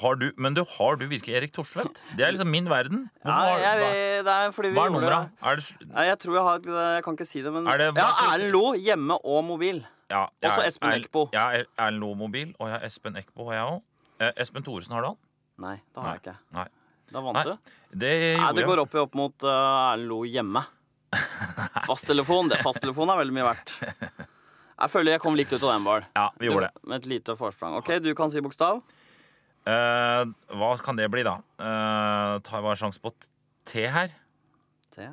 [SPEAKER 2] Har du... Men du, har du virkelig Erik Thorstvedt? Det er liksom min verden. Hvorfor
[SPEAKER 3] Ja,
[SPEAKER 2] har-
[SPEAKER 3] jeg,
[SPEAKER 2] hva-
[SPEAKER 3] det er fordi vi
[SPEAKER 2] Hva er
[SPEAKER 3] gjorde-
[SPEAKER 2] numra? Er det...
[SPEAKER 3] Nei, jeg tror jeg har Jeg kan ikke si det, men
[SPEAKER 2] Er det-
[SPEAKER 3] Ja, Erlend Lo, hjemme og mobil.
[SPEAKER 2] Ja, jeg
[SPEAKER 3] Også
[SPEAKER 2] er-
[SPEAKER 3] Espen
[SPEAKER 2] er-
[SPEAKER 3] Eckbo.
[SPEAKER 2] Jeg er Erlend Loe mobil, og jeg er Espen Eckbo, og jeg òg. Espen Thoresen, har du han?
[SPEAKER 3] Nei, det har jeg ikke.
[SPEAKER 2] Nei.
[SPEAKER 3] Da vant
[SPEAKER 2] Nei.
[SPEAKER 3] du.
[SPEAKER 2] Det
[SPEAKER 3] Nei, det
[SPEAKER 2] gjorde
[SPEAKER 3] går
[SPEAKER 2] jeg.
[SPEAKER 3] opp i opp mot eh, Erlend
[SPEAKER 2] [laughs]
[SPEAKER 3] Lo hjemme. Fasttelefon. det- Fasttelefon er veldig mye verdt. Jeg føler jeg kom likt ut av den, Bård.
[SPEAKER 2] Ja, vi gjorde det.
[SPEAKER 3] Med et lite forsprang. OK, du kan si bokstav.
[SPEAKER 2] Eh, hva kan det bli, da? Eh, tar bare sjanse på T her.
[SPEAKER 3] T.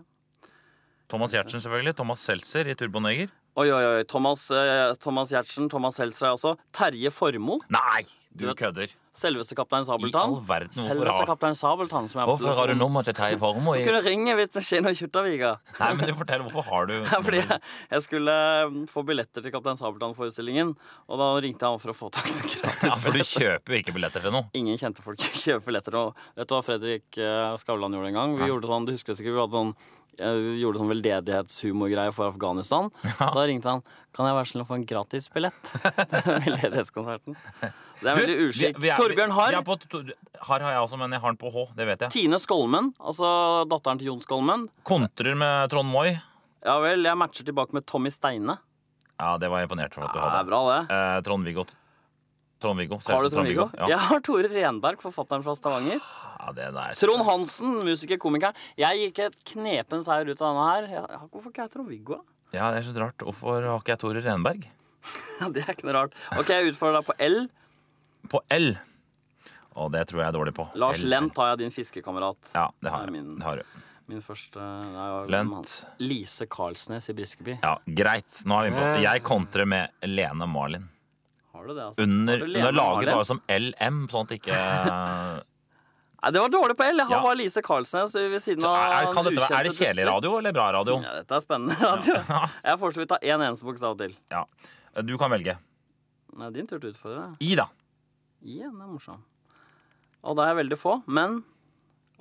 [SPEAKER 2] Thomas Giertsen, selvfølgelig. Thomas Seltzer i Turboneger.
[SPEAKER 3] Oi, oi, oi. Thomas, eh, Thomas Giertsen, Thomas Helser er også. Terje Formoe.
[SPEAKER 2] Nei, du
[SPEAKER 3] Du-
[SPEAKER 2] kødder.
[SPEAKER 3] Selveste kaptein
[SPEAKER 2] I all
[SPEAKER 3] Sabeltann.
[SPEAKER 2] verden, hvorfor
[SPEAKER 3] Selveste
[SPEAKER 2] har-
[SPEAKER 3] kaptein Sabeltann. Som er på
[SPEAKER 2] Hvorfor har du
[SPEAKER 3] telefonen.
[SPEAKER 2] nummer til Terje
[SPEAKER 3] [laughs]
[SPEAKER 2] Formoe? i-
[SPEAKER 3] Du kunne ringe hvis det skjer noe
[SPEAKER 2] [laughs]
[SPEAKER 3] i Kjuttaviga.
[SPEAKER 2] Nei, men du fortell, hvorfor har
[SPEAKER 3] [laughs]
[SPEAKER 2] du
[SPEAKER 3] Ja, fordi
[SPEAKER 2] nummer?
[SPEAKER 3] jeg, jeg skulle mm, få billetter til Kaptein Sabeltann-forestillingen, og da ringte han for å få tak i noen
[SPEAKER 2] Ja,
[SPEAKER 3] [laughs] gratis
[SPEAKER 2] for du
[SPEAKER 3] billetter.
[SPEAKER 2] kjøper jo ikke billetter til noe.
[SPEAKER 3] Ingen kjente folk [laughs] kjøper billetter. Og vet du hva Fredrik eh, Skavlan gjorde en gang? Vi gjorde sånn, du husker sikkert vi hadde sånn eh, vi gjorde sånn veldedighetshumorgreie for Afghanistan. Da ringte han 'Kan jeg være snill å få en gratisbillett?' [laughs] Veldedighetskonserten. Det er veldig uskikk. Torbjørn Harr.
[SPEAKER 2] Harr har jeg også, men jeg har den på H. Det vet jeg.
[SPEAKER 3] Tine Skolmen, altså datteren til Jon Skolmen.
[SPEAKER 2] Kontrer med Trond Moi.
[SPEAKER 3] Ja vel, jeg matcher tilbake med Tommy Steine.
[SPEAKER 2] Ja, det var jeg imponert over at du
[SPEAKER 3] Ja, det er
[SPEAKER 2] hadde.
[SPEAKER 3] bra, det.
[SPEAKER 2] Eh, Trond-Viggo. Trond-Viggo.
[SPEAKER 3] Har du
[SPEAKER 2] Selveste
[SPEAKER 3] Trond-Viggo?
[SPEAKER 2] Ja.
[SPEAKER 3] Jeg har Tore Renberg, forfatteren fra Stavanger.
[SPEAKER 2] ja, det der.
[SPEAKER 3] Trond Hansen, musiker, komiker. Jeg gikk et knepen seier ut av denne her. Jeg- jeg- Hvorfor ikke jeg Trond-Viggo? da?
[SPEAKER 2] Ja, det er så rart. Hvorfor har ikke jeg Tore Renberg?
[SPEAKER 3] Ja, Det er ikke noe rart. Ok, jeg utfordrer deg på L.
[SPEAKER 2] På L. Og det tror jeg er dårlig på.
[SPEAKER 3] Lars
[SPEAKER 2] L.
[SPEAKER 3] Lent har jeg, din fiskekamerat.
[SPEAKER 2] Ja, det har
[SPEAKER 3] er
[SPEAKER 2] jeg.
[SPEAKER 3] min-
[SPEAKER 2] Det har du.
[SPEAKER 3] Min første nei, jeg-
[SPEAKER 2] Lent.
[SPEAKER 3] Lise Karlsnes i Briskeby.
[SPEAKER 2] Ja, greit. Nå er vi på. Jeg kontrer med Lene Marlin.
[SPEAKER 3] Har du det, altså? Har
[SPEAKER 2] Under,
[SPEAKER 3] du
[SPEAKER 2] hun
[SPEAKER 3] Lene
[SPEAKER 2] har laget
[SPEAKER 3] Marlin?
[SPEAKER 2] bare som LM, sånn
[SPEAKER 3] [laughs]
[SPEAKER 2] at ikke
[SPEAKER 3] Nei, det var dårlig på L. Jeg har
[SPEAKER 2] Ja.
[SPEAKER 3] bare Lise Karlsnes ved siden
[SPEAKER 2] er,
[SPEAKER 3] av
[SPEAKER 2] er, kan dette, være- er det
[SPEAKER 3] ukjente
[SPEAKER 2] kjedelig
[SPEAKER 3] duster.
[SPEAKER 2] radio eller bra radio?
[SPEAKER 3] Ja, dette er spennende [laughs] radio.
[SPEAKER 2] [laughs]
[SPEAKER 3] Jeg får så vidt ta én eneste bokstav til.
[SPEAKER 2] Ja. Du kan velge.
[SPEAKER 3] Nei, din tur til å utfordre. deg.
[SPEAKER 2] I, da.
[SPEAKER 3] Ja, den er morsom. Og det er veldig få, men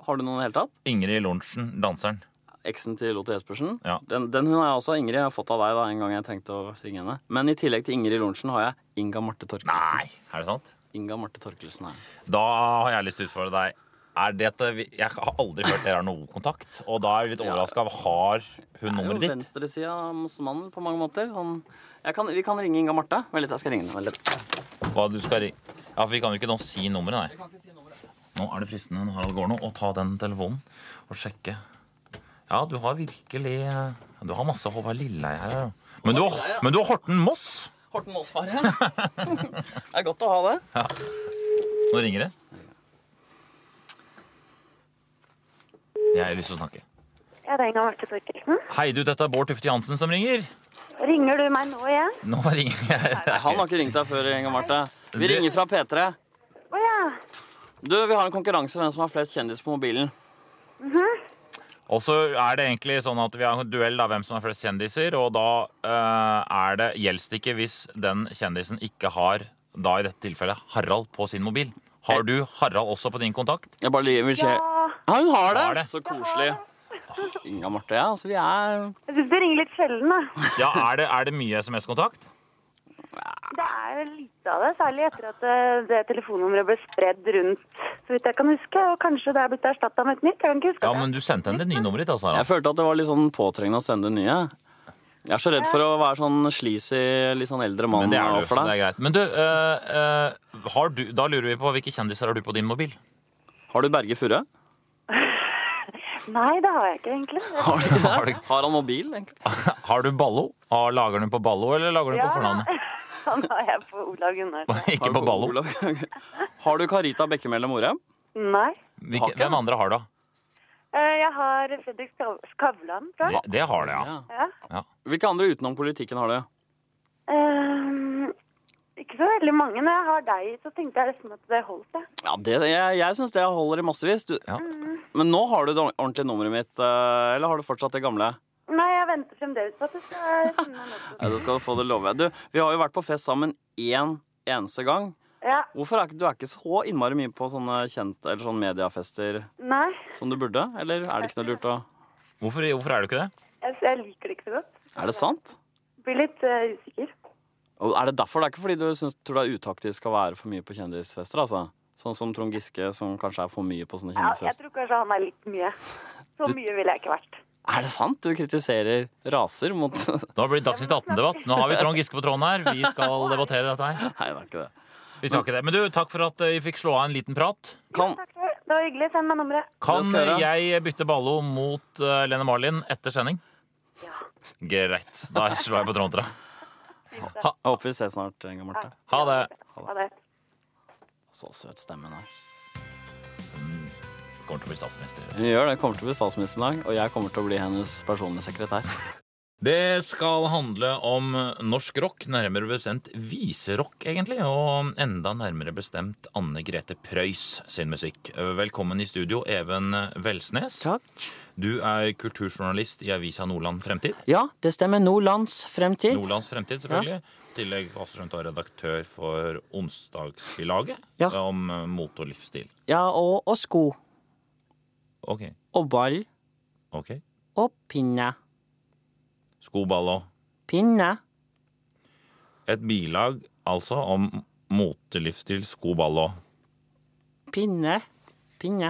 [SPEAKER 3] har du noen i det hele tatt?
[SPEAKER 2] Ingrid Lorentzen, danseren.
[SPEAKER 3] Eksen til Lotte Jespersen.
[SPEAKER 2] Ja.
[SPEAKER 3] Den, den hun har jeg også. Ingrid har jeg fått av deg da, en gang jeg trengte å ringe henne. Men i tillegg til Ingrid Lorentzen har jeg Inga Marte Torkelsen.
[SPEAKER 2] Er det sant?
[SPEAKER 3] Inga Marte Torkelsen her.
[SPEAKER 2] Da har jeg lyst til å utfordre deg Er dette, jeg har aldri hørt dere har noe kontakt, og da er jeg litt overraska. Har hun
[SPEAKER 3] Det er jo
[SPEAKER 2] nummeret ditt?
[SPEAKER 3] venstresida hos mannen på mange måter. Sånn, jeg kan, vi kan ringe Inga Marte. Vent litt, jeg skal ringe henne. Vent litt.
[SPEAKER 2] Hva du skal ringe? Ja, for vi kan jo ikke nå si nummeret, nei. Nå er det fristende når Harald går nå, å ta den telefonen og sjekke. Ja, du har virkelig eh, Du har masse Håvard Lilleheie her. ja. Men du, har, men du har Horten Moss!
[SPEAKER 3] Horten
[SPEAKER 2] [laughs]
[SPEAKER 3] Måsfar, ja. det er godt å ha det.
[SPEAKER 2] Nå ringer det. Jeg har lyst til å snakke.
[SPEAKER 7] Ja, det er Inga Marte Thorkildsen.
[SPEAKER 2] Hei, du, dette er Bård Tufte Jansen som ringer.
[SPEAKER 7] Ringer du meg nå igjen?
[SPEAKER 2] Nå ringer jeg.
[SPEAKER 3] Han har ikke ringt deg før, Inga Marte. Vi ringer fra P3.
[SPEAKER 7] Å ja.
[SPEAKER 3] Du, vi har en konkurranse om hvem som har flest kjendiser på mobilen.
[SPEAKER 2] Og så er det egentlig sånn at vi har en duell da, hvem som har flest kjendiser, og da eh, er det gjelds det ikke hvis den kjendisen ikke har, da i dette tilfellet, Harald på sin mobil. Har du Harald også på din kontakt?
[SPEAKER 3] Jeg bare vil se.
[SPEAKER 7] ja.
[SPEAKER 3] Ja, hun har det!
[SPEAKER 2] Har det.
[SPEAKER 3] Så koselig. Inga Marte, ja. Altså, vi er
[SPEAKER 7] Jeg syns du ringer litt sjelden, da.
[SPEAKER 2] Ja, er det, er det mye SMS-kontakt?
[SPEAKER 7] Det er lite av det, særlig etter at eh, det telefonnummeret ble spredd rundt, så vidt jeg kan huske. Og kanskje det er blitt erstatta med et nytt. Jeg kan ikke huske
[SPEAKER 2] Ja,
[SPEAKER 7] det.
[SPEAKER 2] men du sendte henne det nye nummeret ditt, altså,
[SPEAKER 3] Jeg
[SPEAKER 2] Harald.
[SPEAKER 3] følte at det var litt sånn påtrengende å sende nye. Jeg er så redd for å være sånn sleazy, litt sånn eldre mann
[SPEAKER 2] Men det er det jo,
[SPEAKER 3] overfor
[SPEAKER 2] så det
[SPEAKER 3] deg.
[SPEAKER 2] er greit. Men du, eh, eh, har du, da lurer vi på hvilke kjendiser har du på din mobil?
[SPEAKER 3] Har du Berge Furre?
[SPEAKER 7] Nei, det har jeg ikke, egentlig.
[SPEAKER 3] Har, du
[SPEAKER 2] Har
[SPEAKER 3] det?
[SPEAKER 2] du-
[SPEAKER 3] har han mobil, egentlig?
[SPEAKER 2] Har du Ballo? Har, lager du på Ballo, eller lager du på fornavnet? [laughs]
[SPEAKER 7] [laughs] han har jeg på Olav Gunnarsen.
[SPEAKER 2] Ikke
[SPEAKER 3] Har du
[SPEAKER 2] på Ballo.
[SPEAKER 3] Olav? [laughs] Har du Carita Bekkemellem Orheim?
[SPEAKER 7] Nei.
[SPEAKER 2] Hvilke, hvem andre har du? da?
[SPEAKER 7] Eh, Jeg har Fredrik Skav- Skavlan, tror jeg.
[SPEAKER 2] Det, det har du, ja.
[SPEAKER 7] Ja.
[SPEAKER 3] Hvilke andre utenom politikken har du?
[SPEAKER 7] Eh, ikke så veldig mange. Når jeg har deg, så tenkte jeg liksom at det holdt, jeg.
[SPEAKER 3] Ja, det, Jeg, jeg syns det holder i massevis. Du,
[SPEAKER 2] Ja.
[SPEAKER 3] Men nå har du det ordentlige nummeret mitt, eh, eller har du fortsatt det gamle?
[SPEAKER 7] Nei, jeg venter fremdeles på at du skal finne meg noe.
[SPEAKER 3] Ja, det skal du få, det lover jeg. Du, vi har jo vært på fest sammen én eneste gang.
[SPEAKER 7] Ja,
[SPEAKER 3] Hvorfor er ikke, du er ikke så innmari mye på sånne kjent, eller sånn mediefester
[SPEAKER 7] nei.
[SPEAKER 3] som du burde? Eller er det ikke noe lurt å
[SPEAKER 2] Hvorfor, hvorfor er du ikke det?
[SPEAKER 7] Jeg, jeg liker det ikke så godt.
[SPEAKER 3] Er det sant?
[SPEAKER 7] Blir litt eh, usikker.
[SPEAKER 3] Og er det derfor? Det er ikke fordi du syns, tror det er utaktisk å være for mye på kjendisfester, altså? Sånn som Trond Giske, som kanskje er for mye på sånne
[SPEAKER 7] Ja, jeg
[SPEAKER 3] kjendisfester.
[SPEAKER 7] tror kanskje han er litt mye. Så mye ville jeg ikke vært.
[SPEAKER 3] Er det sant? Du kritiserer raser mot [laughs] Nei,
[SPEAKER 2] Da blir det Dagsnytt 18-debatt. Nå har vi Trond Giske på tråden her. Vi skal debattere dette her.
[SPEAKER 3] det er ikke det.
[SPEAKER 2] Vi skal ikke det. Men du, takk for at eh, vi fikk slå av en liten prat.
[SPEAKER 3] Kan,
[SPEAKER 7] Takk for det. Det var hyggelig. Send meg nummeret.
[SPEAKER 2] Kan
[SPEAKER 3] Det skal jeg
[SPEAKER 2] jeg bytte Ballo mot eh, Lene Marlin etter sending? Greit. Da slår jeg på Trond til deg.
[SPEAKER 3] jeg håper vi ses snart, Inga Marte.
[SPEAKER 2] Ha det.
[SPEAKER 7] Ha det.
[SPEAKER 3] Så søt stemmen her.
[SPEAKER 2] Kommer til å bli statsminister.
[SPEAKER 3] Hun gjør det. Kommer til å bli statsminister i dag, og jeg kommer til å bli hennes personlige sekretær.
[SPEAKER 2] Det skal handle om norsk rock, nærmere bestemt viserock, egentlig. Og enda nærmere bestemt Anne Grete Preus sin musikk. Velkommen i studio, Even Velsnes.
[SPEAKER 3] Takk.
[SPEAKER 2] Du er kulturjournalist i avisa Nordland Fremtid.
[SPEAKER 3] Ja, det stemmer. Nordlands fremtid.
[SPEAKER 2] Nordlands Fremtid, selvfølgelig. I tillegg også skjønt å være redaktør for Onsdagsbilaget
[SPEAKER 3] Ja.
[SPEAKER 2] om eh, mote og livsstil.
[SPEAKER 3] Ja, og, og sko.
[SPEAKER 2] Ok.
[SPEAKER 3] Og ball.
[SPEAKER 2] ok.
[SPEAKER 3] Og pinne.
[SPEAKER 2] Skoball og
[SPEAKER 3] Pinne.
[SPEAKER 2] Et bilag altså om motelivsstil, skoball og
[SPEAKER 3] Pinne. Pinne.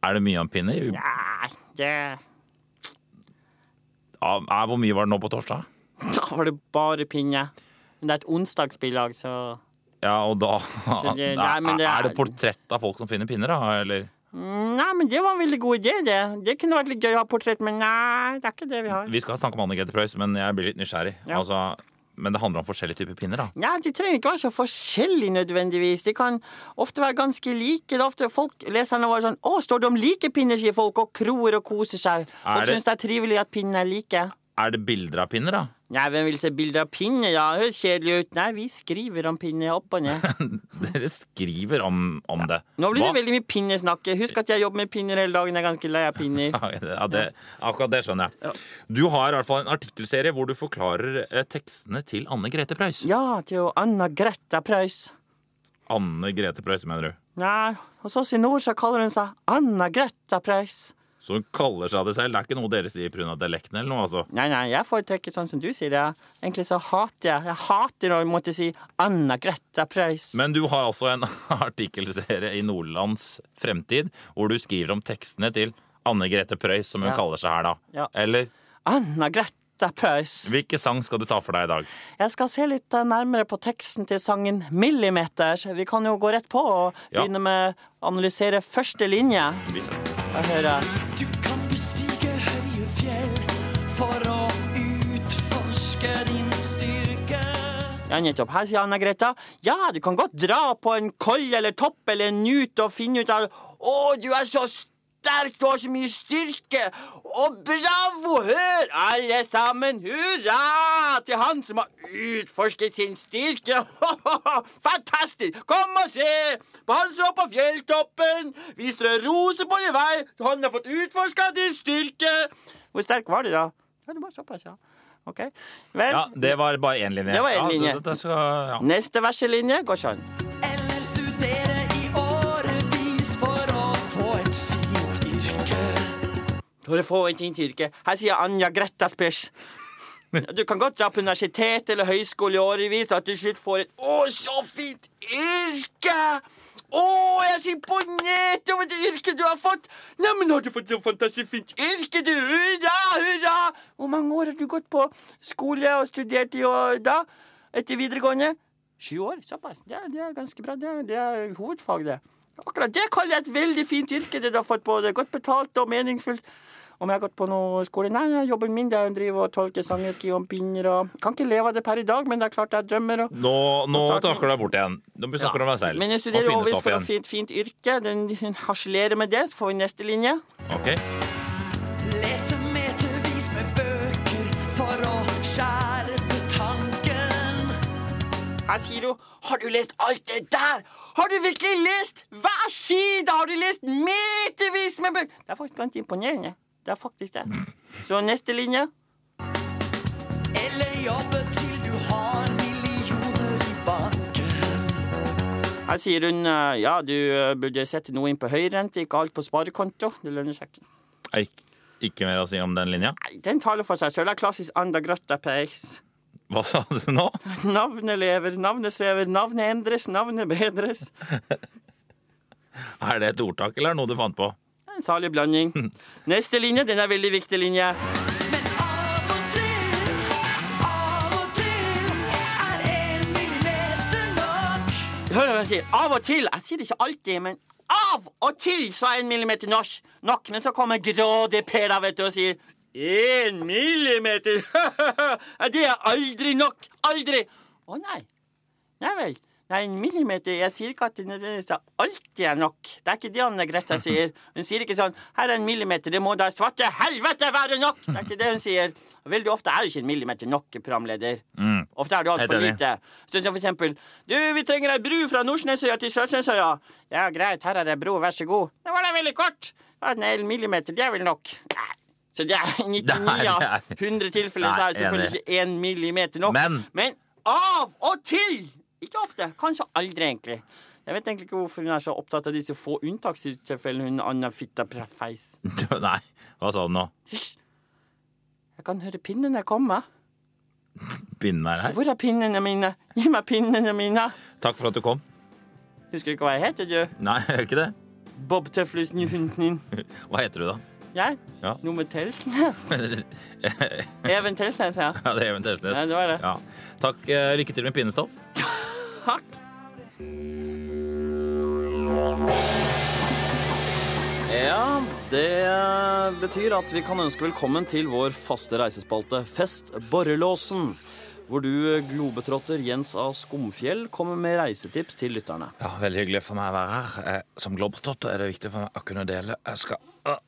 [SPEAKER 2] Er det mye om pinner?
[SPEAKER 3] Nei, det
[SPEAKER 2] Ja, eh, hvor mye var det nå på torsdag?
[SPEAKER 3] [laughs] Da var det bare pinne. Men det er et onsdagsbilag, så
[SPEAKER 2] Ja, og da
[SPEAKER 3] Så
[SPEAKER 2] [laughs]
[SPEAKER 3] det-
[SPEAKER 2] Nei,
[SPEAKER 3] nei, men det
[SPEAKER 2] er...
[SPEAKER 3] er-
[SPEAKER 2] det portrett av folk som finner pinner, da? Eller?
[SPEAKER 3] Nei, men det var en veldig god idé, det. Det kunne vært litt gøy å ha portrett, men nei, det er ikke det vi har.
[SPEAKER 2] Vi skal snakke om Anne Grete Preus, men jeg blir litt nysgjerrig.
[SPEAKER 3] Ja.
[SPEAKER 2] Altså, men det handler om forskjellige typer pinner, da.
[SPEAKER 3] Nei, de trenger ikke være så forskjellige nødvendigvis. De kan ofte være ganske like. Det er ofte folk, leserne våre sånn Å, står det om like pinner, sier folk, og kroer og koser seg. Folk
[SPEAKER 2] det-
[SPEAKER 3] syns det er trivelig at pinnene er like.
[SPEAKER 2] Er det bilder av pinner, da? [laughs]
[SPEAKER 3] Nei, hvem vil se bilder av pinner, da? Høres kjedelig ut. Nei, vi skriver om pinner opp og ned.
[SPEAKER 2] Dere skriver om, om det.
[SPEAKER 3] Nå blir
[SPEAKER 2] Hva-
[SPEAKER 3] det veldig mye pinnesnakk. Husk at jeg jobber med pinner hele dagen. Jeg er ganske lei av pinner.
[SPEAKER 2] [laughs] Ja, det- ja, det, akkurat det skjønner jeg. Du har i hvert fall en artikkelserie hvor du forklarer eh, tekstene til Anne Grete Preus.
[SPEAKER 3] Ja, til jo Anna Greta Preus.
[SPEAKER 2] Anne Grete Preus, mener du?
[SPEAKER 3] Nei, hos oss i nord så kaller hun seg Anna Greta Preus.
[SPEAKER 2] Så hun kaller seg det selv. Det er ikke noe dere sier pga. dialekten eller noe, altså.
[SPEAKER 3] Nei, nei, jeg foretrekker sånn som du sier det. Egentlig så hater jeg Jeg hater å måtte si Anna Greta Preus.
[SPEAKER 2] Men du har altså en [laughs] artikkelserie i Nordlands Fremtid hvor du skriver om tekstene til Anne Grete Preus, som hun
[SPEAKER 3] Ja.
[SPEAKER 2] kaller seg her, da.
[SPEAKER 3] Ja.
[SPEAKER 2] Eller
[SPEAKER 3] Anna Greta Preus.
[SPEAKER 2] hvilken sang skal du ta for deg i dag?
[SPEAKER 3] Jeg skal se litt eh, nærmere på teksten til sangen 'Millimeters'. Vi kan jo gå rett på og
[SPEAKER 2] Ja.
[SPEAKER 3] begynne med å analysere første linje.
[SPEAKER 2] Vi ser.
[SPEAKER 3] Jeg hører
[SPEAKER 8] Du kan bestige høye fjell for å utforske din styrke.
[SPEAKER 3] Ja, nettopp. Her sier Anna Greta Ja, du kan godt dra på en koll eller topp eller en nut og finne ut av Å, du er så sterk, du har så mye styrke. Og bravo, hør alle sammen, hurra til han som har utforsket sin styrke. [laughs] Fantastisk! Kom og se! På han som er på fjelltoppen. Vi strør roser på din vei. Han har fått utforska din styrke. Hvor sterk var du, da? Ja, du var såpass, ja. OK. Vel.
[SPEAKER 2] Ja, det var bare én linje.
[SPEAKER 3] Det var én
[SPEAKER 2] Ja,
[SPEAKER 3] linje.
[SPEAKER 2] det- det skal- ja.
[SPEAKER 3] Neste verselinje går sånn.
[SPEAKER 8] Eller studere i årevis for å få et fint yrke.
[SPEAKER 3] For å få en fint yrke. Her sier Anja Greta Spers. [laughs] Du kan godt dra på universitet eller høyskole i årevis, og at du til slutt får et Å, så fint yrke! Å, jeg er så imponert over det yrket du har fått! Neimen, har du fått et fantastisk fint yrke, du! Hurra, hurra! Hvor mange år har du gått på skole og studert i år da? Etter videregående? Sju år? Såpass. Det, er- det er ganske bra. Det, er- det er hovedfag, det. Akkurat det kaller jeg et veldig fint yrke, det du har fått på. Det er godt betalt og meningsfullt. Om jeg har gått på noe skole? Nei, jeg jobben min det er å drive og tolke sanger, skrive om binder og Kan ikke leve av det per i dag, men det er klart jeg drømmer og
[SPEAKER 2] Nå, nå
[SPEAKER 3] Nå starter-
[SPEAKER 2] takker du deg bort igjen. Nå snakker du om deg selv.
[SPEAKER 3] Men
[SPEAKER 2] Og
[SPEAKER 3] jeg studerer overvis
[SPEAKER 2] kvinnestoff
[SPEAKER 3] for å
[SPEAKER 2] igjen.
[SPEAKER 3] få et fint yrke. Den hun harselerer med det, så får vi neste linje.
[SPEAKER 2] Ok.
[SPEAKER 8] Lese metervis med bøker for å skjerpe tanken.
[SPEAKER 3] Her sier hun Har du lest alt det der? Har du virkelig lest hver side? Har du lest metervis med bøker? Det er faktisk ganske imponerende. Det er faktisk det. Så neste linje.
[SPEAKER 8] Eller jobbe til du har millioner i banken.
[SPEAKER 3] Her sier hun eh, ja, du eh, burde sette noe inn på høyrente, ikke alt på sparekonto. Det lønner seg ikke.
[SPEAKER 2] Ik ikke mer å si om den linja.
[SPEAKER 3] Nei, Den taler for seg sjøl. Det er klassisk Anda Grøtta Peis.
[SPEAKER 2] Hva sa du nå?
[SPEAKER 3] Navnet lever, navnet svever, navnet endres, navnet bedres.
[SPEAKER 2] Er det et ordtak eller er det noe du fant på?
[SPEAKER 3] Det er En salig blanding. Neste linje, den er veldig viktig linje.
[SPEAKER 8] Men av og til, av og til er en millimeter nok.
[SPEAKER 3] Hør hva jeg sier. Av og til. Jeg sier det ikke alltid, men av og til så er en millimeter norsk nok. Men så kommer grådig Per da, vet du, og sier én millimeter? [laughs] det er aldri nok. Aldri. Å nei. Nei vel. Nei, en millimeter Jeg sier ikke at det nødvendigvis er alltid er nok. Det er ikke det Anne Greta sier. Hun sier ikke sånn 'Her er en millimeter, det må da svarte helvete være nok'. Det er ikke det hun sier. Veldig ofte er jo ikke en millimeter nok, programleder. Ofte er det altfor
[SPEAKER 2] Mm. Helt enig.
[SPEAKER 3] lite. Sånn som for eksempel 'Du, vi trenger ei bru fra Nordsnesøya til Sørensøya'. 'Ja, greit, her er ei bro, vær så god'. Det var da veldig kort. Ja, en hel millimeter, det er vel nok. Nei. Så det
[SPEAKER 2] [laughs]
[SPEAKER 3] er [laughs] 99 av
[SPEAKER 2] Nei, det er-
[SPEAKER 3] 100 tilfeller
[SPEAKER 2] Nei,
[SPEAKER 3] så er det
[SPEAKER 2] enig.
[SPEAKER 3] selvfølgelig ikke én millimeter nok.
[SPEAKER 2] Men-
[SPEAKER 3] Men av og til! Ikke ofte. Kanskje aldri, egentlig. Jeg vet egentlig ikke hvorfor hun er så opptatt av disse få unntakstilfellene hun Anna Fitta Prefeis.
[SPEAKER 2] Nei, hva sa du nå?
[SPEAKER 3] Hysj! Jeg kan høre pinnene komme.
[SPEAKER 2] Pinnen er her.
[SPEAKER 3] Hvor er pinnene mine? Gi meg pinnene mine!
[SPEAKER 2] Takk for at du kom.
[SPEAKER 3] Husker du ikke hva jeg heter, du?
[SPEAKER 2] Nei, [laughs] jeg gjør ikke det.
[SPEAKER 3] Bob Tøflus Newton.
[SPEAKER 2] Hva heter du da?
[SPEAKER 3] Jeg?
[SPEAKER 2] Ja.
[SPEAKER 3] Noe med
[SPEAKER 2] [laughs]
[SPEAKER 3] Telsnes? Even Telsnes, ja.
[SPEAKER 2] Ja, det er Even Telsnes.
[SPEAKER 3] Nei, det var det.
[SPEAKER 2] Ja. Takk. eh, Lykke til med pinnestoff.
[SPEAKER 3] Takk. Ja, det betyr at vi kan ønske velkommen til vår faste reisespalte Fest Borrelåsen. Hvor du, globetrotter Jens A. Skumfjell, kommer med reisetips til lytterne.
[SPEAKER 2] Ja, Veldig hyggelig for meg å være her. Eh, Som globetrotter er det viktig for meg å kunne dele. Jeg skal... Ah,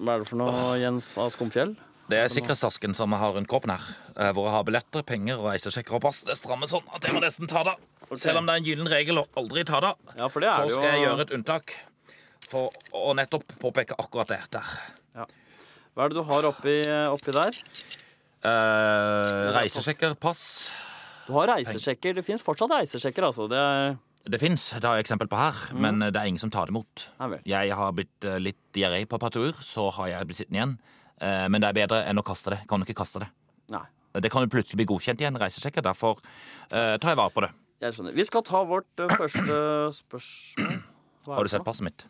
[SPEAKER 3] Hva er det for noe, Jens A. Skumfjell?
[SPEAKER 2] Det er sikkerhetstasken som jeg har rundt kroppen her. eh, Hvor jeg har billetter, penger, reisesjekker og pass. Det strammer sånn at jeg må nesten ta det. Selv om det er en gyllen regel å aldri ta det,
[SPEAKER 3] Ja, for det er
[SPEAKER 2] så
[SPEAKER 3] det jo-
[SPEAKER 2] skal jeg gjøre et unntak for å nettopp påpeke akkurat det der.
[SPEAKER 3] Hva er det du har oppi, oppi der?
[SPEAKER 2] Eh, reisesjekker, pass
[SPEAKER 3] Du har reisesjekker. Det fins fortsatt reisesjekker, altså. Det er
[SPEAKER 2] Det fins, det har jeg eksempel på her, men det er ingen som tar det imot.
[SPEAKER 3] Mm. Ja vel.
[SPEAKER 2] Jeg har blitt eh, litt diaré på patruljer, så har jeg blitt sittende igjen. Eh, Men det er bedre enn å kaste det. Kan du ikke kaste det?
[SPEAKER 3] Nei.
[SPEAKER 2] Det kan jo plutselig bli godkjent igjen, reisesjekker. Derfor eh, tar jeg vare på det.
[SPEAKER 3] Jeg skjønner. Vi skal ta vårt eh, første spørsmål. Hva er
[SPEAKER 2] Har
[SPEAKER 3] det
[SPEAKER 2] du sett
[SPEAKER 3] for noe?
[SPEAKER 2] passet mitt?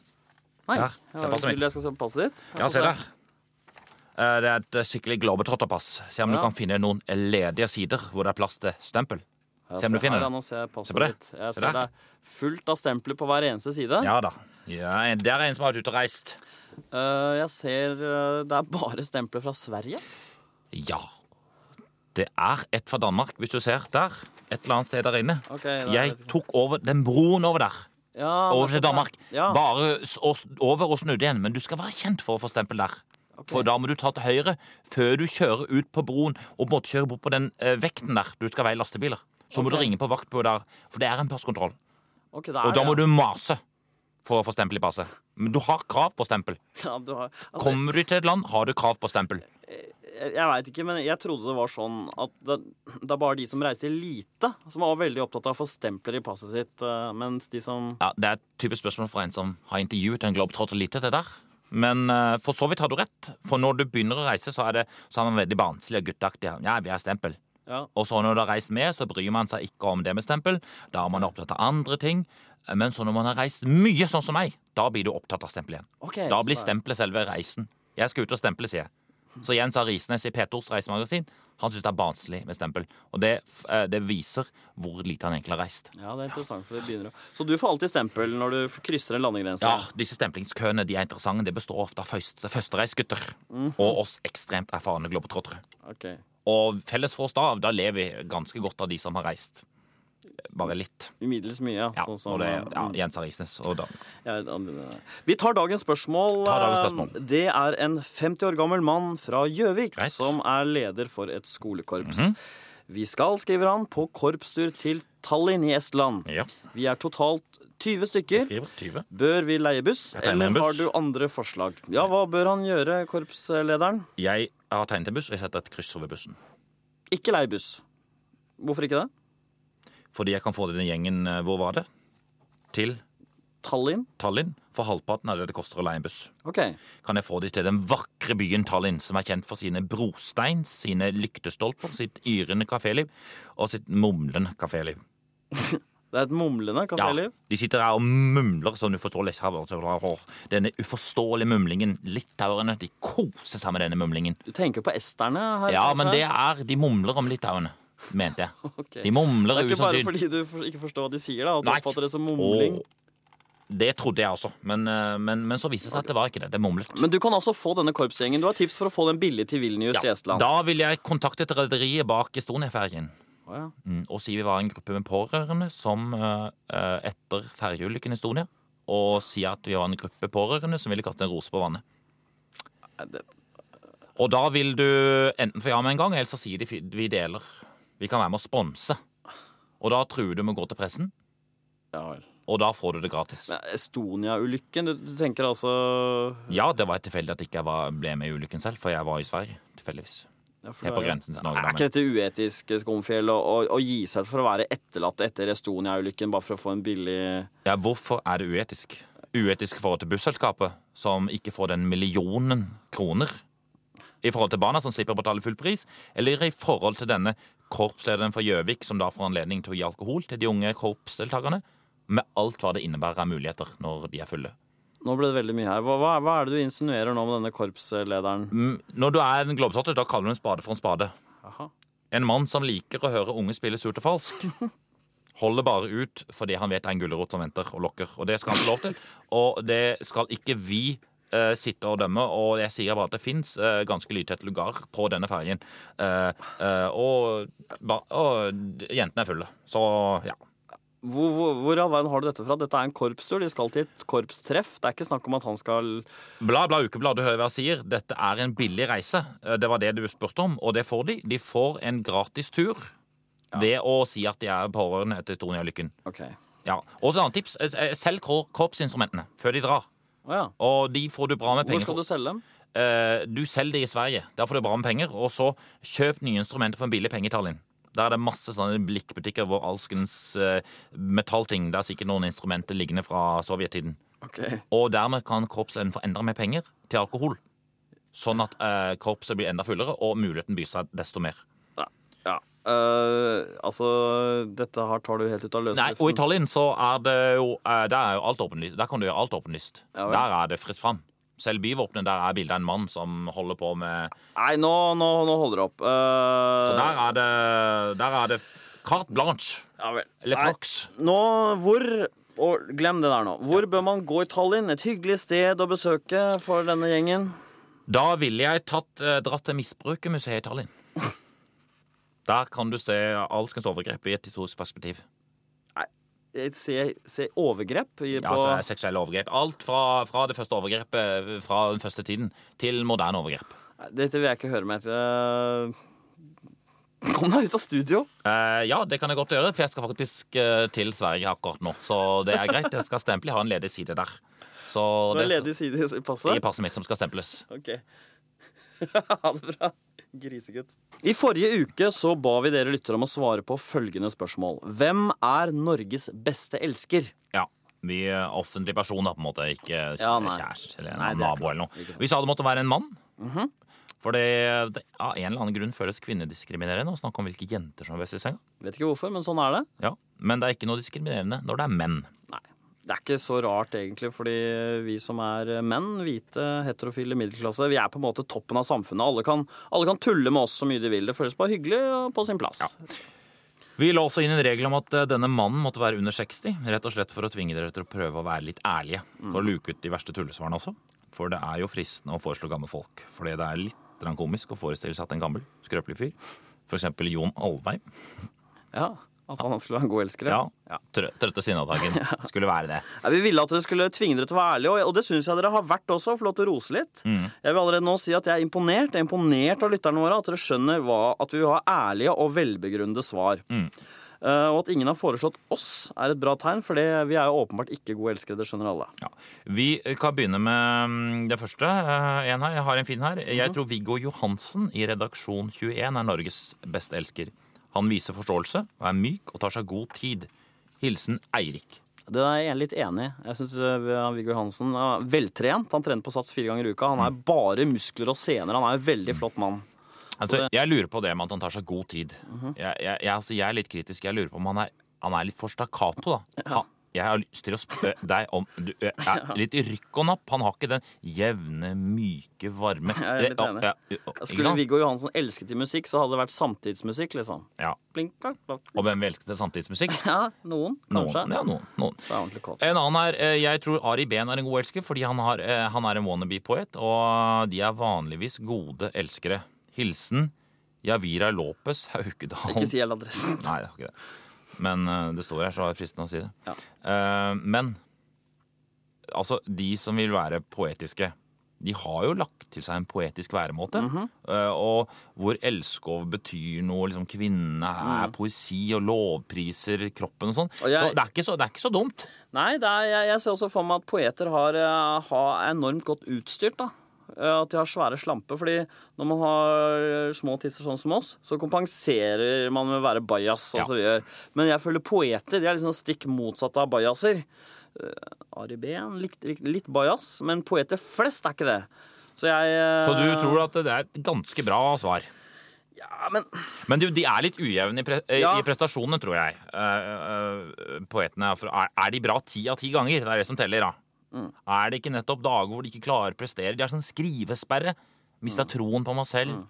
[SPEAKER 3] Nei.
[SPEAKER 2] Ja,
[SPEAKER 3] Jeg
[SPEAKER 2] se
[SPEAKER 3] har-
[SPEAKER 2] passet mitt.
[SPEAKER 3] vil jeg skal se på passet ditt?
[SPEAKER 2] Ja, se der. Eh, Det er et eh, skikkelig globetrotterpass. Se om du
[SPEAKER 3] Ja.
[SPEAKER 2] kan finne noen ledige sider hvor det er plass til stempel.
[SPEAKER 3] Ja,
[SPEAKER 2] Se om du
[SPEAKER 3] her,
[SPEAKER 2] finner
[SPEAKER 3] ja,
[SPEAKER 2] det.
[SPEAKER 3] Nå ser jeg passet
[SPEAKER 2] Se på det.
[SPEAKER 3] ditt. Jeg
[SPEAKER 2] Se
[SPEAKER 3] ser det
[SPEAKER 2] der.
[SPEAKER 3] er fullt av stempler på hver eneste side.
[SPEAKER 2] Ja da. Ja, en- der er en som har vært ute og reist.
[SPEAKER 3] Eh, jeg ser eh, det er bare stempler fra Sverige.
[SPEAKER 2] Ja. Det er et fra Danmark, hvis du ser der. Et eller annet sted der inne.
[SPEAKER 3] Ok, da vet
[SPEAKER 2] Jeg
[SPEAKER 3] jeg.
[SPEAKER 2] tok over den broen over der.
[SPEAKER 3] Ja,
[SPEAKER 2] Over til
[SPEAKER 3] nettopp,
[SPEAKER 2] Danmark.
[SPEAKER 3] Ja. Ja.
[SPEAKER 2] Bare s- og s- over og snudde igjen. Men du skal være kjent for å få stempel der. For da må du ta til høyre før du kjører ut på broen og måtte kjøre bort på den eh, vekten der du skal veie lastebiler. Så må du
[SPEAKER 3] Ok.
[SPEAKER 2] ringe på vakt på der, for det er en passkontroll.
[SPEAKER 3] Ok, det er
[SPEAKER 2] Og da
[SPEAKER 3] det,
[SPEAKER 2] må
[SPEAKER 3] ja.
[SPEAKER 2] du mase for å få stempel i passet. Men du har krav på stempel.
[SPEAKER 3] ja, du har, altså,
[SPEAKER 2] Kommer du til et land, har du krav på stempel.
[SPEAKER 3] Jeg, jeg veit ikke, men jeg trodde det var sånn at det, det er bare de som reiser lite, som var veldig opptatt av å få stempler i passet sitt, eh, mens de som
[SPEAKER 2] Ja, Det er et typisk spørsmål fra en som har intervjuet en globetrotter lite, det der. Men eh, for så vidt har du rett. For når du begynner å reise, så er, det, så er man veldig barnslig og gutteaktig. Ja, vi har stempel.
[SPEAKER 3] Ja.
[SPEAKER 2] Og så når du har reist med, så bryr man seg ikke om det med stempel. Da er man opptatt av andre ting. Men så når man har reist mye, sånn som meg, da blir du opptatt av stempel igjen.
[SPEAKER 3] Ok,
[SPEAKER 2] da
[SPEAKER 3] så
[SPEAKER 2] blir
[SPEAKER 3] det er-
[SPEAKER 2] stempelet selve reisen. Jeg skal ut og stemple, sier jeg. Så Jens har Risnes i P2s reisemagasin. Han syns det er barnslig med stempel. Og det, eh, det viser hvor lite han egentlig har reist.
[SPEAKER 3] Ja, det er interessant, for det begynner å Så du får alltid stempel når du f- krysser en landegrense?
[SPEAKER 2] Ja, disse stemplingskøene de er interessante. Det består ofte av først- førstereisgutter og oss ekstremt erfarne globetrottere.
[SPEAKER 3] Ok.
[SPEAKER 2] Og felles for oss da, da lever vi ganske godt av de som har reist. Bare litt.
[SPEAKER 3] Middels mye, ja.
[SPEAKER 2] Ja,
[SPEAKER 3] sånn som,
[SPEAKER 2] og det, ja
[SPEAKER 3] mm,
[SPEAKER 2] Jens Arisnes. Og da,
[SPEAKER 3] jeg vet aldri- Vi tar dagens spørsmål.
[SPEAKER 2] Ta dagens spørsmål.
[SPEAKER 3] Eh, Det er en 50 år gammel mann fra Gjøvik
[SPEAKER 2] Greit. Mhm.
[SPEAKER 3] som er leder for et skolekorps. Vi skal, skriver han, på korpstur til Tallinn i Estland.
[SPEAKER 2] ja,
[SPEAKER 3] Vi er totalt 20
[SPEAKER 2] jeg
[SPEAKER 3] stykker.
[SPEAKER 2] skriver 20.
[SPEAKER 3] Bør vi leie buss,
[SPEAKER 2] tegner
[SPEAKER 3] eller
[SPEAKER 2] en
[SPEAKER 3] har
[SPEAKER 2] buss.
[SPEAKER 3] du andre forslag? Ja, hva bør han gjøre, korpslederen?
[SPEAKER 2] Jeg har tegnet en buss, og jeg setter et kryss over bussen.
[SPEAKER 3] Ikke leie buss. Hvorfor ikke det?
[SPEAKER 2] Fordi jeg kan få denne gjengen, eh, hvor var det? Til
[SPEAKER 3] Tallinn?
[SPEAKER 2] Tallinn, for halvparten av det det koster å leie en buss.
[SPEAKER 3] Ok.
[SPEAKER 2] kan jeg få de til den vakre byen Tallinn, som er kjent for sine brostein, sine lyktestolper, sitt yrende kaféliv og sitt mumlende kaféliv.
[SPEAKER 3] Det er et mumlende
[SPEAKER 2] Ja,
[SPEAKER 3] kaféliv.
[SPEAKER 2] de sitter der og mumler sånn uforståelig. Denne uforståelige mumlingen. Litauerne, de koser seg med denne mumlingen.
[SPEAKER 3] Du tenker på esterne her?
[SPEAKER 2] Ja, men
[SPEAKER 3] kanskje?
[SPEAKER 2] det er De mumler om litauerne, mente jeg.
[SPEAKER 3] [laughs] Ok.
[SPEAKER 2] De mumler
[SPEAKER 3] Det er ikke bare
[SPEAKER 2] usannsynlig.
[SPEAKER 3] fordi du for- ikke forstår hva de sier, da, at du
[SPEAKER 2] Nei.
[SPEAKER 3] oppfatter det som mumling.
[SPEAKER 2] Åh, Det trodde jeg også, men, eh, men, men så viste det seg at det var ikke det. Det mumlet.
[SPEAKER 3] Men du kan altså få denne korpsgjengen. Du har tips for å få den billig til Vilnius i
[SPEAKER 2] Ja,
[SPEAKER 3] Estland.
[SPEAKER 2] da ville jeg kontaktet rederiet bak Estonia-fergen.
[SPEAKER 3] Å, ja.
[SPEAKER 2] Mm, Og Sivi var en gruppe med pårørende som eh, eh, etter ferjeulykken i Estonia og sier at vi var en gruppe pårørende som ville kaste en rose på vannet.
[SPEAKER 3] det-
[SPEAKER 2] Og da vil du enten få ja med en gang, eller så sier de fi- vi deler. Vi kan være med å sponse. Og da truer du med å gå til pressen,
[SPEAKER 3] ja vel.
[SPEAKER 2] og da får du det gratis.
[SPEAKER 3] Men Estonia-ulykken, du, du tenker altså
[SPEAKER 2] Ja, det var tilfeldig at jeg ikke var, ble med i ulykken selv, for jeg var i Sverige. Tilfeldigvis.
[SPEAKER 3] ja, for
[SPEAKER 2] Jeg er
[SPEAKER 3] det
[SPEAKER 2] på
[SPEAKER 3] jo-
[SPEAKER 2] grensen til Norge.
[SPEAKER 3] Er
[SPEAKER 2] da,
[SPEAKER 3] ikke
[SPEAKER 2] men-
[SPEAKER 3] dette uetisk, Skomfjell, å, å, å gi seg for å være etterlatt etter Estonia-ulykken bare for å få en billig
[SPEAKER 2] Ja, hvorfor er det uetisk? Uetisk i forhold til busselskapet, som ikke får den millionen kroner. I forhold til barna, som slipper å betale full pris. Eller i forhold til denne korpslederen fra Gjøvik, som da får anledning til å gi alkohol til de unge korpsdeltakerne. Med alt hva det innebærer av muligheter når de er fulle.
[SPEAKER 3] Nå ble det veldig mye her. Hva, hva, hva er det du insinuerer nå med denne korpslederen?
[SPEAKER 2] Mm, Når du er en globetrotter, da kaller du en spade for en spade.
[SPEAKER 3] Aha.
[SPEAKER 2] En mann som liker å høre unge spille surt og falsk, holder bare ut fordi han vet det er en gulrot som venter og lokker. Og det skal han få lov til. Og det skal ikke vi eh, sitte og dømme. Og jeg sier bare at det fins ganske lydtett lugar på denne fergen. Eh, eh, og, ba, og d- jentene er fulle. Så ja.
[SPEAKER 3] Hvor, hvor, hvor i all verden har du dette fra? Dette er en korpstur. De skal til et korpstreff. Det er ikke snakk om at han skal
[SPEAKER 2] Bla, bla, ukeblad, du hører hva jeg sier. Dette er en billig reise. Eh, Det var det du spurte om, og det får de. De får en gratis tur ved å si at de er pårørende etter Estonia-lykken.
[SPEAKER 3] OK.
[SPEAKER 2] Ja, og så et annet tips. eh, eh, Selg kor- korpsinstrumentene før de drar.
[SPEAKER 3] Å ja.
[SPEAKER 2] Og de får du bra med
[SPEAKER 3] Hvor
[SPEAKER 2] penger
[SPEAKER 3] skal
[SPEAKER 2] for.
[SPEAKER 3] du selge dem?
[SPEAKER 2] Eh, Du selger de i Sverige. Der får du bra med penger. Og så kjøp nye instrumenter for en billig penge i Tallinn. Der er det masse sånne blikkbutikker hvor alskens eh, metallting Det er sikkert noen instrumenter liggende fra sovjettiden.
[SPEAKER 3] Ok.
[SPEAKER 2] Og dermed kan korpsleden få enda mer penger til alkohol. Sånn at eh, korpset blir enda fullere, og muligheten byr seg desto mer.
[SPEAKER 3] Ja. Eh, altså, dette her tar du helt ut av løse
[SPEAKER 2] Nei, og i Tallinn så er det jo, eh, der er jo alt åpenlyst. Der kan du gjøre alt åpenlyst.
[SPEAKER 3] Ja vel.
[SPEAKER 2] der er det fritt fram. Selv byvåpenet, der er bildet av en mann som holder på med
[SPEAKER 3] Nei, nå, nå, nå holder det opp. Eh,
[SPEAKER 2] Så der er det, der er det carte blanche.
[SPEAKER 3] ja vel.
[SPEAKER 2] Eller
[SPEAKER 3] Nei,
[SPEAKER 2] flaks.
[SPEAKER 3] Nå, hvor og Glem det der nå. Hvor bør man gå i Tallinn? Et hyggelig sted å besøke for denne gjengen?
[SPEAKER 2] Da ville jeg tatt, eh, dratt til Misbrukermuseet i
[SPEAKER 3] [laughs]
[SPEAKER 2] Tallinn. Der kan du se alskens overgrep i et historisk perspektiv.
[SPEAKER 3] Eh, Se, se overgrep i,
[SPEAKER 2] Ja,
[SPEAKER 3] på
[SPEAKER 2] altså Seksuelle overgrep. Alt fra, fra det første overgrepet fra den første tiden til moderne overgrep.
[SPEAKER 3] Nei, Dette vil jeg ikke høre mer til. Eh, Kom deg ut av studio!
[SPEAKER 2] Eh, ja, det kan jeg godt gjøre, for jeg skal faktisk eh, til Sverige akkurat nå. Så det er greit. Jeg skal stemple. Jeg har en ledig side der. Så
[SPEAKER 3] Du
[SPEAKER 2] det
[SPEAKER 3] er ledig side i passet.
[SPEAKER 2] i passet mitt som skal stemples.
[SPEAKER 3] Ok. [laughs] ha det bra. Grisegutt. I forrige uke så ba vi dere lyttere om å svare på følgende spørsmål. Hvem er Norges beste elsker?
[SPEAKER 2] Ja. Vi er offentlige personer, på en måte. Ikke
[SPEAKER 3] Ja, nei.
[SPEAKER 2] kjæreste eller en
[SPEAKER 3] Nei, det er
[SPEAKER 2] nabo
[SPEAKER 3] klart.
[SPEAKER 2] eller noe.
[SPEAKER 3] Ikke sant. Mhm.
[SPEAKER 2] Vi sa det måtte være en mann. For det, det av en eller annen grunn føles kvinnediskriminerende å snakke om hvilke jenter som er best i senga.
[SPEAKER 3] Vet ikke hvorfor, men sånn er det.
[SPEAKER 2] Ja. Men det er ikke noe diskriminerende når det er menn.
[SPEAKER 3] Nei. Det er ikke så rart, egentlig, fordi vi som er menn, hvite, heterofile, middelklasse, vi er på en måte toppen av samfunnet. Alle kan, alle kan tulle med oss så mye de vil. Det føles bare hyggelig og på sin plass.
[SPEAKER 2] Vi la også inn en regel om at eh, denne mannen måtte være under 60, rett og slett for å tvinge dere til å prøve å være litt ærlige, for å luke ut de verste tullesvarene også. For det er jo fristende å foreslå gamle folk, fordi det er litt grann komisk å forestille seg at en gammel, skrøpelig fyr, for eksempel Jon Alvheim,
[SPEAKER 3] Ja, At han skulle være en god elsker.
[SPEAKER 2] ja, trø- trøtte [laughs] sinnadagen, skulle være det.
[SPEAKER 3] Ja, Vi ville at dere skulle tvinge dere til å være ærlige, og- og det syns jeg dere har vært også. Få lov til å rose litt. Jeg vil allerede nå si at jeg er imponert. Jeg er imponert av lytterne våre, at dere skjønner hva, at vi har ærlige og velbegrunnede svar. Eh, og at ingen har foreslått oss, er et bra tegn, for det, vi er jo åpenbart ikke gode elskere. Det skjønner alle.
[SPEAKER 2] Ja. Vi kan begynne med mm, det første. Eh, En her, Jeg har en fin her. Jeg tror Viggo Johansen i Redaksjon 21 er Norges beste elsker. Han viser forståelse, og er myk og tar seg god tid. Hilsen Eirik.
[SPEAKER 3] Det er jeg litt enig i. Jeg syns Viggo Johansen er veltrent. Han trener på Sats fire ganger i uka. Han er bare muskler og sener. Han er en veldig flott mann.
[SPEAKER 2] Altså, jeg lurer på det med at han tar seg god tid.
[SPEAKER 3] Mhm.
[SPEAKER 2] jeg, jeg, jeg, altså, jeg er litt kritisk. Jeg lurer på om han er, han er litt for stakkato, da. Han, jeg har lyst til å
[SPEAKER 3] [laughs]
[SPEAKER 2] spørre deg om du, ø, er Litt rykk og napp. Han har ikke den jevne, myke,
[SPEAKER 3] [laughs]
[SPEAKER 2] varme
[SPEAKER 3] Jeg er litt enig. Skulle Viggo Johansen elsket i musikk, så hadde det vært samtidsmusikk, liksom.
[SPEAKER 2] Ja.
[SPEAKER 3] Blink, blink, blink.
[SPEAKER 2] Og hvem vi elsket til samtidsmusikk?
[SPEAKER 3] Ja, noen, kanskje.
[SPEAKER 2] Noen, ja, noen, noen.
[SPEAKER 3] Det er ordentlig kåt.
[SPEAKER 2] En annen er eh, Jeg tror Ari Behn er en god elsker fordi han, har, eh, han er en wannabe-poet, og de er vanligvis gode elskere. Hilsen Javira Lopez Haukedal.
[SPEAKER 3] Ikke si hele adressen.
[SPEAKER 2] Nei, det var ikke det. Men eh, det står her, så er det fristende å si det.
[SPEAKER 3] Ja.
[SPEAKER 2] Eh, men altså, de som vil være poetiske, de har jo lagt til seg en poetisk væremåte.
[SPEAKER 3] Mhm.
[SPEAKER 2] eh, og hvor elskov betyr noe, liksom kvinne er poesi og lovpriser kroppen og sånn.
[SPEAKER 3] Mhm. Og jeg-
[SPEAKER 2] Så, det er ikke så det er ikke så dumt.
[SPEAKER 3] Nei, det er, jeg, jeg ser også for meg at poeter har, eh, har enormt godt utstyrt, da. Eh, At de har svære slamper. fordi når man har små tisser sånn som oss, så kompenserer man med å være bajas. sånn
[SPEAKER 2] Ja.
[SPEAKER 3] som vi gjør. Men jeg føler poeter de er liksom stikk motsatt av bajaser. Eh, Ari Behn, litt, litt, litt bajas, men poeter flest er ikke det. Så jeg eh,
[SPEAKER 2] Så du tror at det er et ganske bra svar.
[SPEAKER 3] ja, men,
[SPEAKER 2] Men de, de er litt ujevne i, pre eh,
[SPEAKER 3] Ja.
[SPEAKER 2] i prestasjonene, tror jeg. Eh, eh, poetene. For er, er de bra ti av ti ganger? Det er det som teller, da.
[SPEAKER 3] Mm.
[SPEAKER 2] Er det ikke nettopp dager hvor de ikke klarer å prestere? De har sånn skrivesperre. Mista
[SPEAKER 3] Mm.
[SPEAKER 2] troen på meg selv.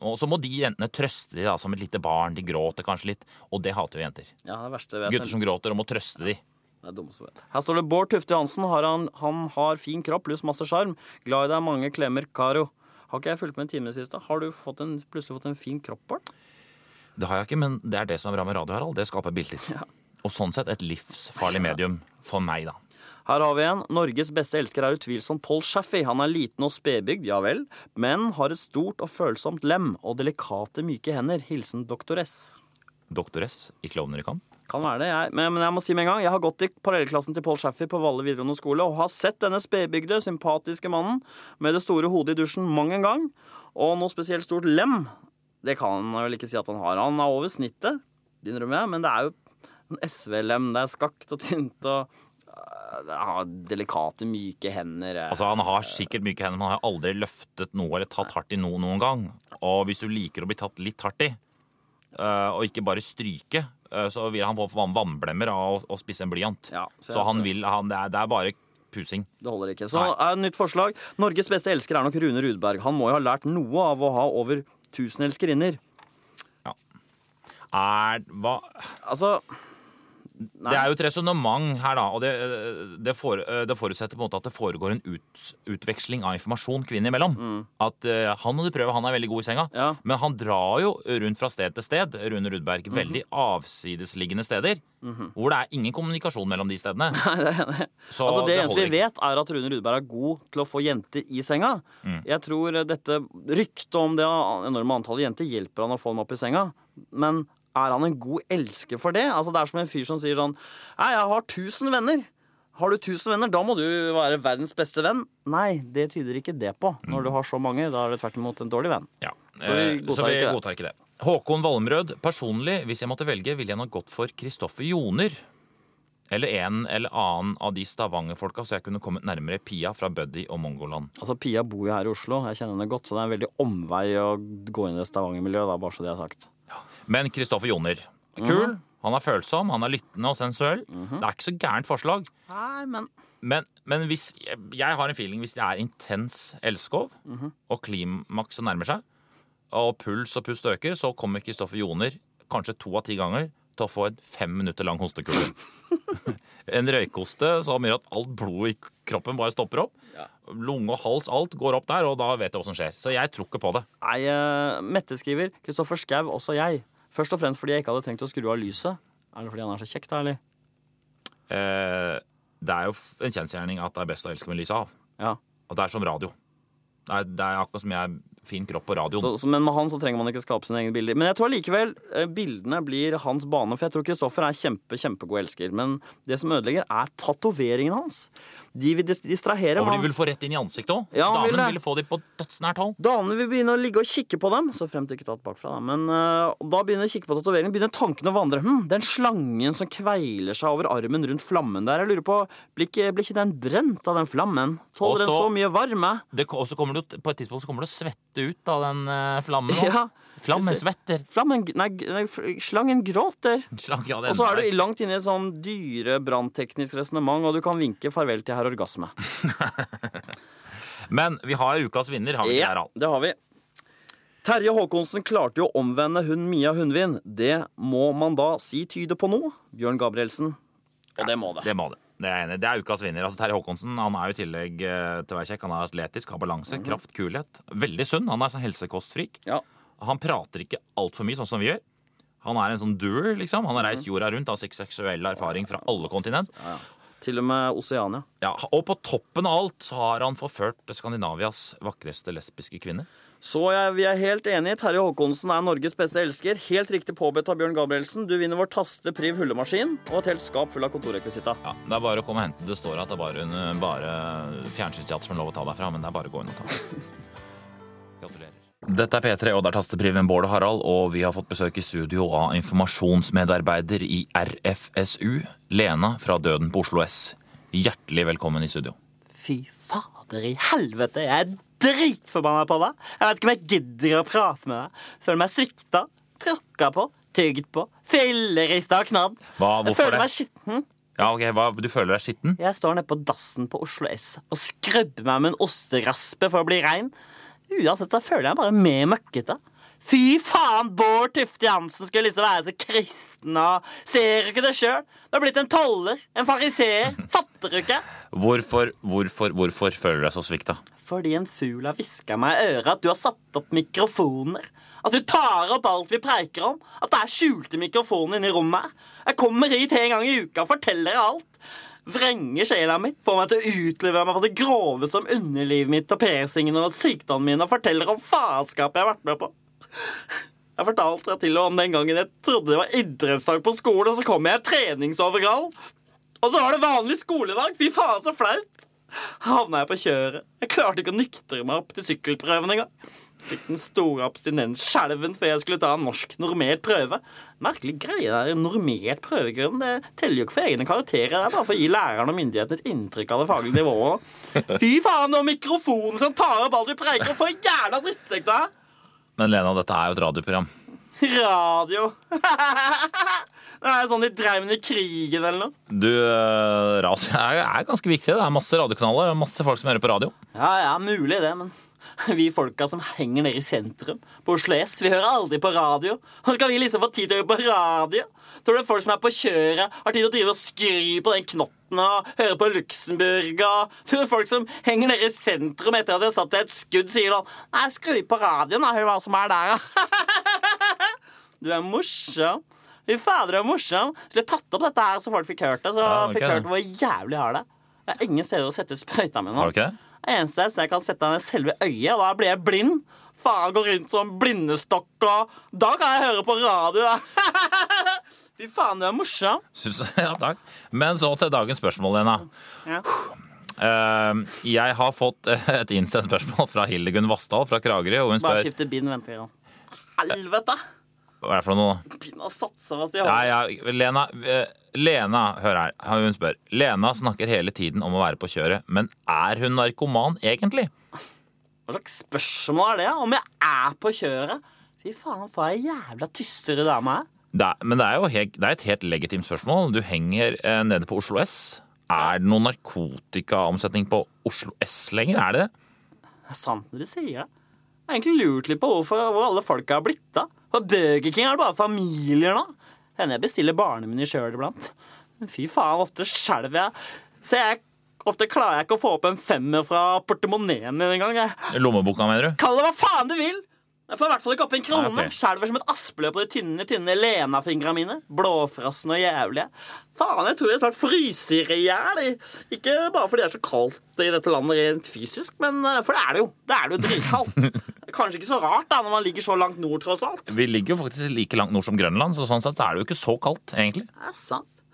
[SPEAKER 2] Og så må de jentene trøste de da, som et lite barn. De gråter kanskje litt. Og det hater jo jenter.
[SPEAKER 3] ja, det verste vet
[SPEAKER 2] Gutter som gråter og må trøste de.
[SPEAKER 3] Det er dumme som vet. Her står det Bård Tufte Johansen. Har han, han har fin kropp pluss masse sjarm. Glad i deg, mange klemmer, Karo. Har ikke jeg fulgt med en time i det siste? Har du fått en, plutselig fått en fin kropp, Bård?
[SPEAKER 2] Det har jeg ikke, men det er det som er bra med radio, Harald. Det skaper bilder. Og sånn sett et livsfarlig medium for meg, da.
[SPEAKER 3] Her har vi en. Norges beste elsker er utvilsomt Paul Shaffey. Han er liten og spedbygd, ja vel, men har et stort og følsomt lem og delikate, myke hender. Hilsen doktoress.
[SPEAKER 2] Doktoress i Klovner i kamp.
[SPEAKER 3] Kan være det, jeg. Men, men jeg må si med en gang, jeg har gått i parallellklassen til Paul Shaffey på Valle videregående skole og har sett denne spedbygde, sympatiske mannen med det store hodet i dusjen mang en gang, og noe spesielt stort lem. Det kan han vel ikke si at han har. Han er over snittet, det innrømmer jeg, men det er jo en SVLM. Det er skakt og tynt og eh, det har delikate, myke hender. eh.
[SPEAKER 2] Altså, Han har sikkert myke hender, men han har aldri løftet noe eller tatt hardt i noe noen gang. Og hvis du liker å bli tatt litt hardt i, eh, og ikke bare stryke, eh, så vil han få van- vannblemmer av å- å spisse en blyant.
[SPEAKER 3] Ja, så
[SPEAKER 2] så
[SPEAKER 3] jeg-
[SPEAKER 2] han vil, han, det, er, det er bare pusing.
[SPEAKER 3] Det holder ikke. Så eh, nytt forslag. Norges beste elsker er nok Rune Rudberg. Han må jo ha lært noe av å ha over 1000 elskerinner.
[SPEAKER 2] Er, hva,
[SPEAKER 3] Altså Nei.
[SPEAKER 2] det er jo et resonnement her, da. Og det, eh, det, fore- eh, det forutsetter på en måte at det foregår en ut, utveksling av informasjon kvinner imellom. At eh, han hadde prøvd, han er veldig god i senga.
[SPEAKER 3] Mm. Ja.
[SPEAKER 2] Men han drar jo rundt fra sted til sted, Rune Rudberg.
[SPEAKER 3] Mhm.
[SPEAKER 2] Veldig avsidesliggende steder. Hvor det er ingen kommunikasjon mellom de
[SPEAKER 3] [laughs]
[SPEAKER 2] stedene. Så
[SPEAKER 3] altså Det, eneste
[SPEAKER 2] holder
[SPEAKER 3] vi
[SPEAKER 2] ikke.
[SPEAKER 3] vet, er at Rune Rudberg er god til å få jenter i senga.
[SPEAKER 2] Mm.
[SPEAKER 3] Jeg tror eh, dette ryktet om det enorme antallet jenter hjelper han å få dem opp i senga. Men er han en god elsker for det? Altså Det er som en fyr som sier sånn Nei, jeg har 1000 venner. Har du 1000 venner, da må du være verdens beste venn. Nei, det tyder ikke det på. Når du har så mange, da er du tvert imot en dårlig venn.
[SPEAKER 2] Mm. Ja.
[SPEAKER 3] Så vi
[SPEAKER 2] Eh,
[SPEAKER 3] godtar
[SPEAKER 2] Så vi
[SPEAKER 3] ikke det.
[SPEAKER 2] godtar ikke det. Håkon Valmrød. Personlig, hvis jeg måtte velge, ville jeg nok gått for Kristoffer Joner. Eller en eller annen av de Stavanger-folka, så jeg kunne kommet nærmere Pia fra Buddy og Mongoland.
[SPEAKER 3] Altså Pia bor jo her i Oslo, jeg kjenner henne godt, så det er en veldig omvei å gå inn i det Stavanger-miljøet, da, bare så det er sagt.
[SPEAKER 2] Men Kristoffer Joner. Kul.
[SPEAKER 3] Mhm.
[SPEAKER 2] Han er følsom, han er lyttende og sensuell. Det er ikke så gærent forslag.
[SPEAKER 3] Nei, men
[SPEAKER 2] Men, men hvis, jeg, jeg har en feeling hvis det er intens elskov, og klimakset nærmer seg, og puls og pust øker, så kommer Kristoffer Joner kanskje to av ti ganger til å få en fem minutter lang hostekule. [laughs] en røykoste som gjør at alt blodet i kroppen bare stopper opp. Lunge og hals, alt går opp der, og da vet jeg hva som skjer. Så jeg tror ikke på det.
[SPEAKER 3] Nei, eh, Mette skriver Kristoffer Skau, også jeg. Først og fremst fordi jeg ikke hadde trengt å skru av lyset. Er det fordi han er så kjekk, da, eller?
[SPEAKER 2] Eh, det er jo f- en kjensgjerning at det er best å elske med lyset av.
[SPEAKER 3] Ja.
[SPEAKER 2] Og det er som radio. Det er, det er akkurat som jeg fin kropp på radioen.
[SPEAKER 3] Så, så, men med han så trenger man ikke skape sine egne bilder. Men jeg tror likevel eh, bildene blir hans bane, for jeg tror Kristoffer er kjempe, kjempegod elsker. Men det som ødelegger, er tatoveringen hans. De vil dis- distrahere
[SPEAKER 2] og de
[SPEAKER 3] ham.
[SPEAKER 2] vil få rett inn i ansiktet òg.
[SPEAKER 3] Ja, han vil
[SPEAKER 2] Damen
[SPEAKER 3] det.
[SPEAKER 2] ville få dem på dødsnært hold.
[SPEAKER 3] Damene vil begynne å ligge og kikke på dem. Så fremt ikke tatt bakfra, da. Men eh, og da begynner de å kikke på tatoveringen, begynner tankene å vandre. Hm, den slangen som kveiler seg over armen rundt flammen der. Jeg lurer på, blir ikke, blir ikke den brent av den flammen?
[SPEAKER 2] Og
[SPEAKER 3] Tåler den
[SPEAKER 2] så-
[SPEAKER 3] så mye varme?
[SPEAKER 2] Det, og så kommer du, på et tidspunkt så kommer du å svette ut av den eh, flammen. også.
[SPEAKER 3] Ja.
[SPEAKER 2] Flammen svetter. [laughs]
[SPEAKER 3] Flammen g- Nei, g- nei f- slangen gråter.
[SPEAKER 2] Slag, ja, det
[SPEAKER 3] Og så er
[SPEAKER 2] ender
[SPEAKER 3] du langt inne i et sånn dyrebrannteknisk resonnement, og du kan vinke farvel til herr orgasme.
[SPEAKER 2] der. Men vi har ukas vinner. har vi ikke
[SPEAKER 3] Ja,
[SPEAKER 2] der, Al?
[SPEAKER 3] det har vi. Terje Håkonsen klarte jo å omvende hun Mia Hundvin. Det må man da si tyder på noe, Bjørn Gabrielsen. Og det må det.
[SPEAKER 2] Det må det. Det er, jeg enig i. det er ukas vinner. Altså, Terje Håkonsen han er jo i tillegg eh, til å være kjekk. Han er atletisk, har
[SPEAKER 3] Mhm.
[SPEAKER 2] balanse, kraft, kulhet. Veldig sunn. Han er sånn helsekostfrik.
[SPEAKER 3] Ja.
[SPEAKER 2] Han prater ikke altfor mye, sånn som vi gjør. Han er en sånn doer, liksom. Han har
[SPEAKER 3] Mhm.
[SPEAKER 2] reist jorda rundt, har seks- seksuell erfaring fra alle kontinent.
[SPEAKER 3] Til og med Oseania.
[SPEAKER 2] Ja, og på toppen av alt så har han forført Skandinavias vakreste lesbiske kvinne.
[SPEAKER 3] Så jeg, vi er helt enige. Terje Håkonsen er Norges beste elsker. Helt riktig påbedt av Bjørn Gabrielsen. Du vinner vår taste Priv hullemaskin og et helt skap full av kontorrekvisitta.
[SPEAKER 2] Ja, Det er bare å komme og hente. Det står at det er bare, en- bare fjernsynsteater som er lov å ta derfra, men det er bare å gå inn og ta. Gratulerer. Dette er P3, og det er tastepriven Bård og Harald, og vi har fått besøk i studio av informasjonsmedarbeider i RFSU, Lena fra Døden på Oslo S. Hjertelig velkommen i studio.
[SPEAKER 5] Fy fader i helvete, jeg er dritforbanna på deg. Jeg vet ikke om jeg gidder å prate med deg. Føler meg svikta, tråkka på, tygd på, fillerista og knadd.
[SPEAKER 2] Hva,
[SPEAKER 5] jeg
[SPEAKER 2] hvorfor
[SPEAKER 5] føler
[SPEAKER 2] det?
[SPEAKER 5] meg skitten.
[SPEAKER 2] Ja, ok, hva, Du føler deg skitten?
[SPEAKER 5] Jeg står nede på dassen på Oslo S og skrubber meg med en osteraspe for å bli rein. Uansett så føler jeg meg bare mer møkkete. Fy faen, Bård Tufte Jansen skulle liksom være så kristen og Ser du ikke det sjøl? Du har blitt en toller, en fariseer. Fatter du ikke?
[SPEAKER 2] Hvorfor, hvorfor, hvorfor føler du deg så svikta?
[SPEAKER 5] Fordi en fugl har hviska meg i øret at du har satt opp mikrofoner. At du tar opp alt vi preiker om. At det er skjulte mikrofoner inne i rommet her. Jeg kommer hit en gang i uka og forteller deg alt. Vrenger sjela mi, får meg til å utlevere meg på det grove som underlivet mitt og piercingene og sykdommen min og forteller om faenskapet jeg har vært med på. Jeg fortalte deg til og om den gangen jeg trodde det var idrettsdag på skolen, og så kom jeg i treningsoverall. Og så var det vanlig skoledag. Fy faen, så flaut havna jeg på kjøret. Jeg klarte ikke å nyktre meg opp til sykkelprøven engang.
[SPEAKER 3] Fikk den store abstinensskjelven før jeg skulle ta en norsk normert prøve. Merkelig greie der, normert prøvegrunn. Det teller jo ikke for egne karakterer. Det er bare for å gi læreren og myndighetene et inntrykk av det faglige nivået. Fy faen, og mikrofonen som tar opp alt vi preiker, for en jævla drittsekk det er!
[SPEAKER 2] Men Lena, dette er jo et radioprogram.
[SPEAKER 3] Radio. [laughs] det er sånn de dreiv med den i krigen eller noe.
[SPEAKER 2] Du, eh, radio [laughs] er, er ganske viktig. Det er masse radiokanaler og masse folk som hører på radio.
[SPEAKER 3] Ja, ja, mulig det, men vi folka som henger nede i sentrum på Oslo S, vi hører aldri på radio. Og skal vi liksom få tid til å høre på radio? Tror du folk som er på kjøret, har tid til å drive og skry på den knotten og høre på Luxembourg og Tror du folk som henger nede i sentrum etter at de har satt seg et skudd, sier sånn Nei, skru på radioen, da, hør hva som er der, da. [laughs] du er morsom. Fy fader, du er morsom. Skulle tatt opp dette her så folk fikk hørt det, så
[SPEAKER 2] Ja, ok,
[SPEAKER 3] fikk
[SPEAKER 2] det.
[SPEAKER 3] hørt hvor jævlig jeg har det. Det er ingen steder å sette sprøyta mi nå.
[SPEAKER 2] Har du ikke det? [laughs]
[SPEAKER 3] Det eneste er at jeg kan sette henne i selve øyet, og da blir jeg blind. Faen, gå rundt som blindestokk, og da kan jeg høre på radio, da. [laughs] Fy faen, du er morsom.
[SPEAKER 2] Syns, ja, takk. Men så til dagens spørsmål, Lena.
[SPEAKER 3] Ja.
[SPEAKER 2] Eh, jeg har fått eh, et innsendt spørsmål fra Hildegunn Vassdal fra Kragerø. Og hun
[SPEAKER 3] Bare
[SPEAKER 2] spør
[SPEAKER 3] skifte bind, venter jeg. Helvete!
[SPEAKER 2] Hva er det for noe?
[SPEAKER 3] Bind har satsa fast i
[SPEAKER 2] Nei,
[SPEAKER 3] hånden.
[SPEAKER 2] ja, Lena, eh, Lena, hør her. Hun spør. Lena snakker hele tiden om å være på kjøret, men er hun narkoman egentlig?
[SPEAKER 3] Hva slags spørsmål er det? Om jeg er på kjøret? Fy faen, for ei jævla tystere dame her.
[SPEAKER 2] Det er, men det er jo helt, det er et helt legitimt spørsmål. Du henger eh, nede på Oslo S. Er det noen narkotikaomsetning på Oslo S lenger? Er det det?
[SPEAKER 3] Det er sant når du sier det. Jeg har egentlig lurt litt på hvorfor, hvor alle folka har blitt av. For Burger King er det bare familier nå. Hender jeg bestiller barnemeny sjøl iblant. Men Fy faen, ofte skjelver jeg. Så jeg ofte klarer jeg ikke å få opp en femmer fra portemoneen min engang. jeg.
[SPEAKER 2] Lommeboka, mener du?
[SPEAKER 3] Kall det hva faen du vil! Jeg får i hvert fall ikke opp en krone.
[SPEAKER 2] Nei, ok.
[SPEAKER 3] Skjelver som et aspeløv på de tynne, tynne Lena-fingra mine. Blåfrosne og jævlige. Faen, jeg tror jeg snart fryser i hjel. Ikke bare fordi det er så kaldt i dette landet rent fysisk, men eh, for det er det jo. Det er det jo dritkaldt. Kanskje ikke så rart da, når man ligger så langt nord, tross alt.
[SPEAKER 2] Vi ligger jo faktisk like langt nord som Grønland, så sånn sett så er det jo ikke så kaldt, egentlig.
[SPEAKER 3] Det er sant.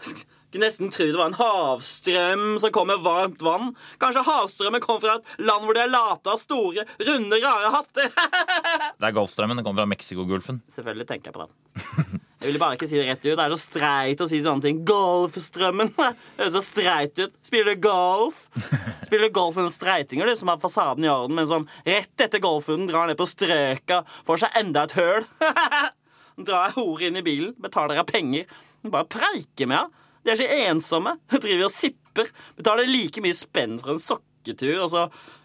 [SPEAKER 3] Skulle nesten tro det var en havstrøm som kom med varmt vann. Kanskje havstrømmen kom fra et land hvor de er late av store, runde, rare hatter.
[SPEAKER 2] Det er Golfstrømmen, den kommer fra Mexicogolfen.
[SPEAKER 3] Selvfølgelig tenker jeg på den. Jeg ville bare ikke si det rett ut. Det er så streit å si sånne ting. Golfstrømmen. [laughs] Det høres så streit ut. Spiller du golf? Spiller du golf med noen streitinger du, som har fasaden i orden, men som rett etter golfrunden drar ned på strøka, får seg enda et høl? [laughs] Drar ei hore inn i bilen, betaler henne penger. Hun bare preiker med henne. De er så ensomme. [laughs] Hun driver og sipper. Betaler like mye spenn for en sokketur, og så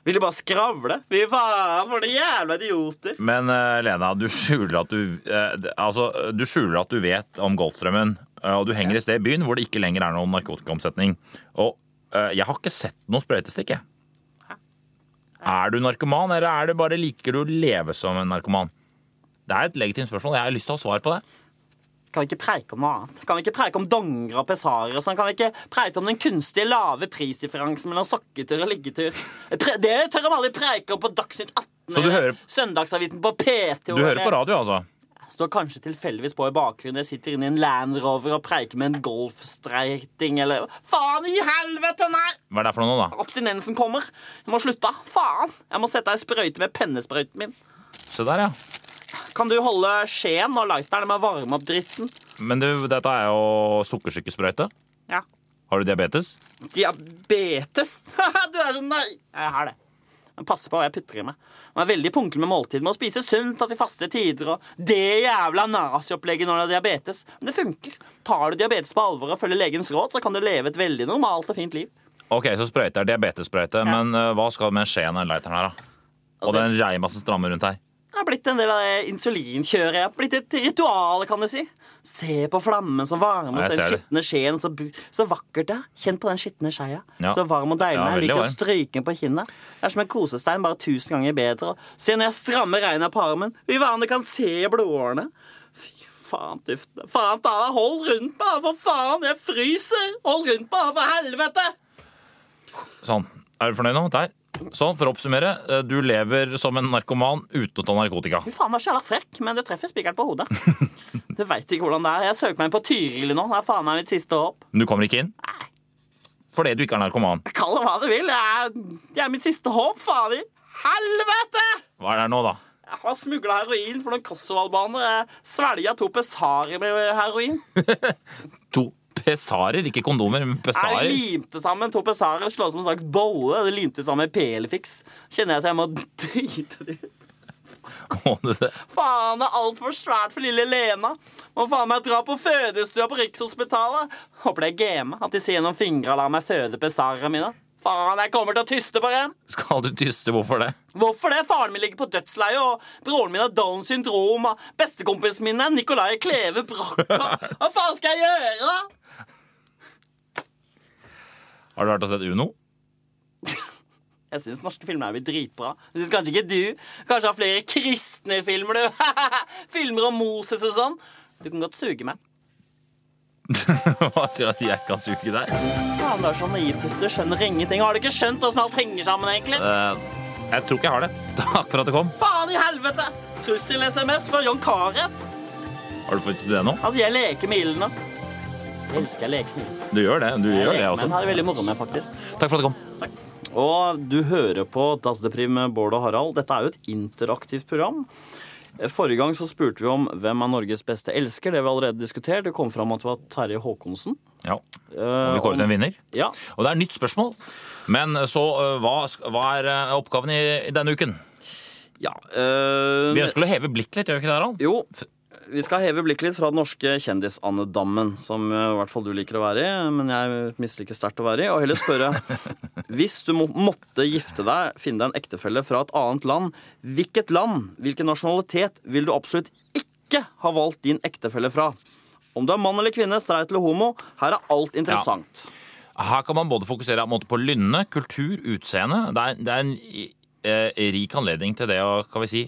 [SPEAKER 3] vil de bare skravle. Fy faen, for noen jævla idioter.
[SPEAKER 2] Men eh, Lena, du skjuler at du, eh, d- altså, du skjuler at du vet om Golfstrømmen, eh, og du henger et sted i byen hvor det ikke lenger er noen narkotikaomsetning. Og eh, jeg har ikke sett noe sprøytestikk, jeg. Er du narkoman, eller er det bare liker du å leve som en narkoman? Det er et legitimt spørsmål. Jeg har lyst til å ha svar på det.
[SPEAKER 3] Kan vi ikke preike om noe annet? Kan vi ikke preike om donger og pesarer og sånn? Kan vi ikke preike om den kunstige lave prisdifferansen mellom sokketur og liggetur? Pre det tør de aldri preike om på Dagsnytt 18
[SPEAKER 2] Så du
[SPEAKER 3] eller
[SPEAKER 2] hører-
[SPEAKER 3] Søndagsavisen på P2.
[SPEAKER 2] Du hører på
[SPEAKER 3] eller-
[SPEAKER 2] radio, altså?
[SPEAKER 3] Står kanskje tilfeldigvis på i bakgrunnen. Jeg sitter inne i en Land Rover og preiker med en golfstreiting eller Faen i helvete, nei!
[SPEAKER 2] Hva er det for noe, da?
[SPEAKER 3] Abstinensen kommer. Jeg må slutte. Faen! Jeg må sette ei sprøyte med pennesprøyten min.
[SPEAKER 2] Se der, ja.
[SPEAKER 3] Kan du holde skjeen og lighteren med å varme opp dritten?
[SPEAKER 2] Men du, dette er jo sukkersykesprøyte.
[SPEAKER 3] Ja.
[SPEAKER 2] Har du diabetes?
[SPEAKER 3] Diabetes? [laughs] du er så nei! Jeg har det. Men pass på hva jeg putter i meg. Man er veldig punktlig med måltid, med å spise sunt og til faste tider og det jævla naziopplegget når du har diabetes. Men det funker. Tar du diabetes på alvor og følger legens råd, så kan du leve et veldig normalt og fint liv.
[SPEAKER 2] Ok, så sprøyte er diabetessprøyte, men eh, hva skal med skjeen og lighteren her, da? Og
[SPEAKER 3] det-
[SPEAKER 2] den reimassen som strammer rundt her.
[SPEAKER 3] Det har blitt en del av det insulinkjøret. Jeg har blitt et ritual, kan du si. Se på flammen som varmer
[SPEAKER 2] Ja,
[SPEAKER 3] opp
[SPEAKER 2] jeg
[SPEAKER 3] den
[SPEAKER 2] ser det.
[SPEAKER 3] skitne skjeen. Så, bu- så vakkert det er. Kjenn på den skitne skeia.
[SPEAKER 2] Ja.
[SPEAKER 3] Så varm og deilig.
[SPEAKER 2] Ja,
[SPEAKER 3] jeg
[SPEAKER 2] veldig
[SPEAKER 3] liker å
[SPEAKER 2] varm.
[SPEAKER 3] stryke den på kinnet. Det er som en kosestein, bare tusen ganger bedre. Og Se når jeg strammer regnet på armen. Vi hverandre kan se blodårene. Fy faen, duften. Faen ta deg, hold rundt meg, da, for faen! Jeg fryser! Hold rundt meg, da, for helvete!
[SPEAKER 2] Sånn. Er du fornøyd nå? Der. Sånn, for å oppsummere. eh, Du lever som en narkoman uten å ta narkotika.
[SPEAKER 3] Fy faen, du er så jævla frekk, men du treffer spikeren på hodet. Du veit ikke hvordan det er. Jeg søker meg inn på Tyrili nå. Det er faen meg mitt siste håp.
[SPEAKER 2] Men du kommer ikke inn? Fordi du ikke er narkoman.
[SPEAKER 3] Kall det hva du vil. Det er, det er mitt siste håp, fader. Helvete!
[SPEAKER 2] Hva er det her nå, da?
[SPEAKER 3] Jeg har smugla heroin for noen kosovalbanere. Jeg svelga to pesarer med heroin.
[SPEAKER 2] To pesarer, ikke kondomer, men
[SPEAKER 3] Jeg
[SPEAKER 2] pesarer.
[SPEAKER 3] limte sammen to pesarer og slå som en slags bolle. Det limte sammen med PL-fiks. Kjenner jeg at jeg må [laughs] drite det ut.
[SPEAKER 2] Må du det?
[SPEAKER 3] Faen, det er altfor svært for lille Lena. Må faen meg dra på fødestua på Rikshospitalet. Håper det er game at de ser gjennom fingra og lar meg føde pesarene mine. Faen, jeg kommer til å tyste på dem.
[SPEAKER 2] Skal du tyste? Hvorfor det?
[SPEAKER 3] Hvorfor det? Faren min ligger på dødsleiet, og broren min har Downs syndrom, og bestekompisen min er Nicolai Kleve Brokka. Hva faen skal jeg gjøre?
[SPEAKER 2] Har du vært og sett Uno? [laughs]
[SPEAKER 3] Jeg syns norske filmer er blitt dritbra. Jeg synes Kanskje ikke du. Kanskje har flere kristne filmer, du. [laughs] filmer om Moses og sånn. Du kan godt suge meg.
[SPEAKER 2] Hva sier at jeg kan suge deg?
[SPEAKER 3] Faen, du er så naivt, Tufte. Du skjønner ingenting. Har du ikke skjønt åssen alt henger sammen, egentlig?
[SPEAKER 2] Eh, jeg tror ikke jeg har det. Takk for at du kom.
[SPEAKER 3] Faen i helvete! Trussel-SMS fra John Carew.
[SPEAKER 2] Har du fått det nå?
[SPEAKER 3] Altså, jeg leker med ilden nå. Jeg elsker jeg leker med ilden.
[SPEAKER 2] Du gjør det. Du gjør det
[SPEAKER 3] Lekemenn har
[SPEAKER 2] også.
[SPEAKER 3] jeg veldig moro med, faktisk.
[SPEAKER 2] Takk for at du kom.
[SPEAKER 3] Og du hører på Dassdepriv med Bård og Harald. Dette er jo et interaktivt program. Forrige gang så spurte vi om hvem er Norges beste elsker. Det har vi allerede diskutert. Det kom fram at det var Terje Håkonsen.
[SPEAKER 2] Ja,
[SPEAKER 3] Eh,
[SPEAKER 2] Vi kåret en vinner.
[SPEAKER 3] Ja.
[SPEAKER 2] Og det er et nytt spørsmål. Men så eh, hva, sk- hva er eh, oppgaven i, i denne uken?
[SPEAKER 3] ja eh,
[SPEAKER 2] Vi ønsker å heve blikket litt, gjør vi ikke det, Harald?
[SPEAKER 3] Jo, vi skal heve blikket litt fra den norske kjendisandedammen, som eh, i hvert fall du liker å være i, men jeg misliker sterkt å være i, og heller
[SPEAKER 2] [laughs]
[SPEAKER 3] spørre Hvis du må, måtte gifte deg, finne deg en ektefelle fra et annet land, hvilket land, hvilken nasjonalitet vil du absolutt ikke ha valgt din ektefelle fra? Om du er mann eller kvinne, streit eller homo, her er alt interessant.
[SPEAKER 2] Her kan man både fokusere på en måte, på lynne, kultur, utseende. Det er, det er en eh, rik anledning til det å kan vi si,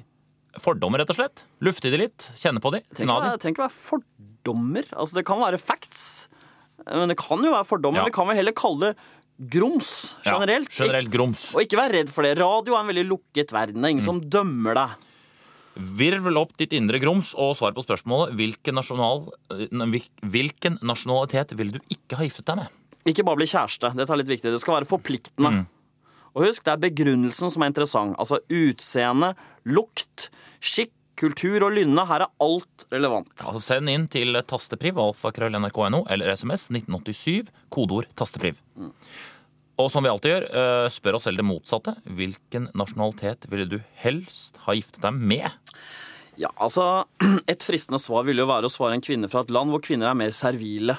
[SPEAKER 2] fordommer, rett og slett. Lufte de litt, kjenne på de. kna
[SPEAKER 3] Det trenger, ikke
[SPEAKER 2] de.
[SPEAKER 3] være- det trenger ikke være fordommer. Altså, det kan være facts. Men det kan jo være fordommer.
[SPEAKER 2] Ja.
[SPEAKER 3] Vi kan vel heller kalle det grums
[SPEAKER 2] Ja,
[SPEAKER 3] generelt.
[SPEAKER 2] generelt grums.
[SPEAKER 3] Og ikke vær redd for det. Radio er en veldig lukket verden. Det er ingen som dømmer deg.
[SPEAKER 2] Virvel opp ditt indre grums og svar på spørsmålet hvilken, nasjonal, eh, hvil- hvilken nasjonalitet ville du ikke ha giftet deg med?
[SPEAKER 3] Ikke bare bli kjæreste. Dette er litt viktig. Det skal være forpliktende. Og husk, det er begrunnelsen som er interessant. Altså utseende, lukt, skikk, kultur og lynne. Her er alt relevant.
[SPEAKER 2] Altså Send inn til tastepriv, alfakrøll.nrk.no, eller SMS 1987, kodeord tastepriv. Og som vi alltid gjør, eh, spør oss selv det motsatte. Hvilken nasjonalitet ville du helst ha giftet deg med?
[SPEAKER 3] Ja, altså, [clears throat] Et fristende svar ville jo være å svare en kvinne fra et land hvor kvinner er mer servile.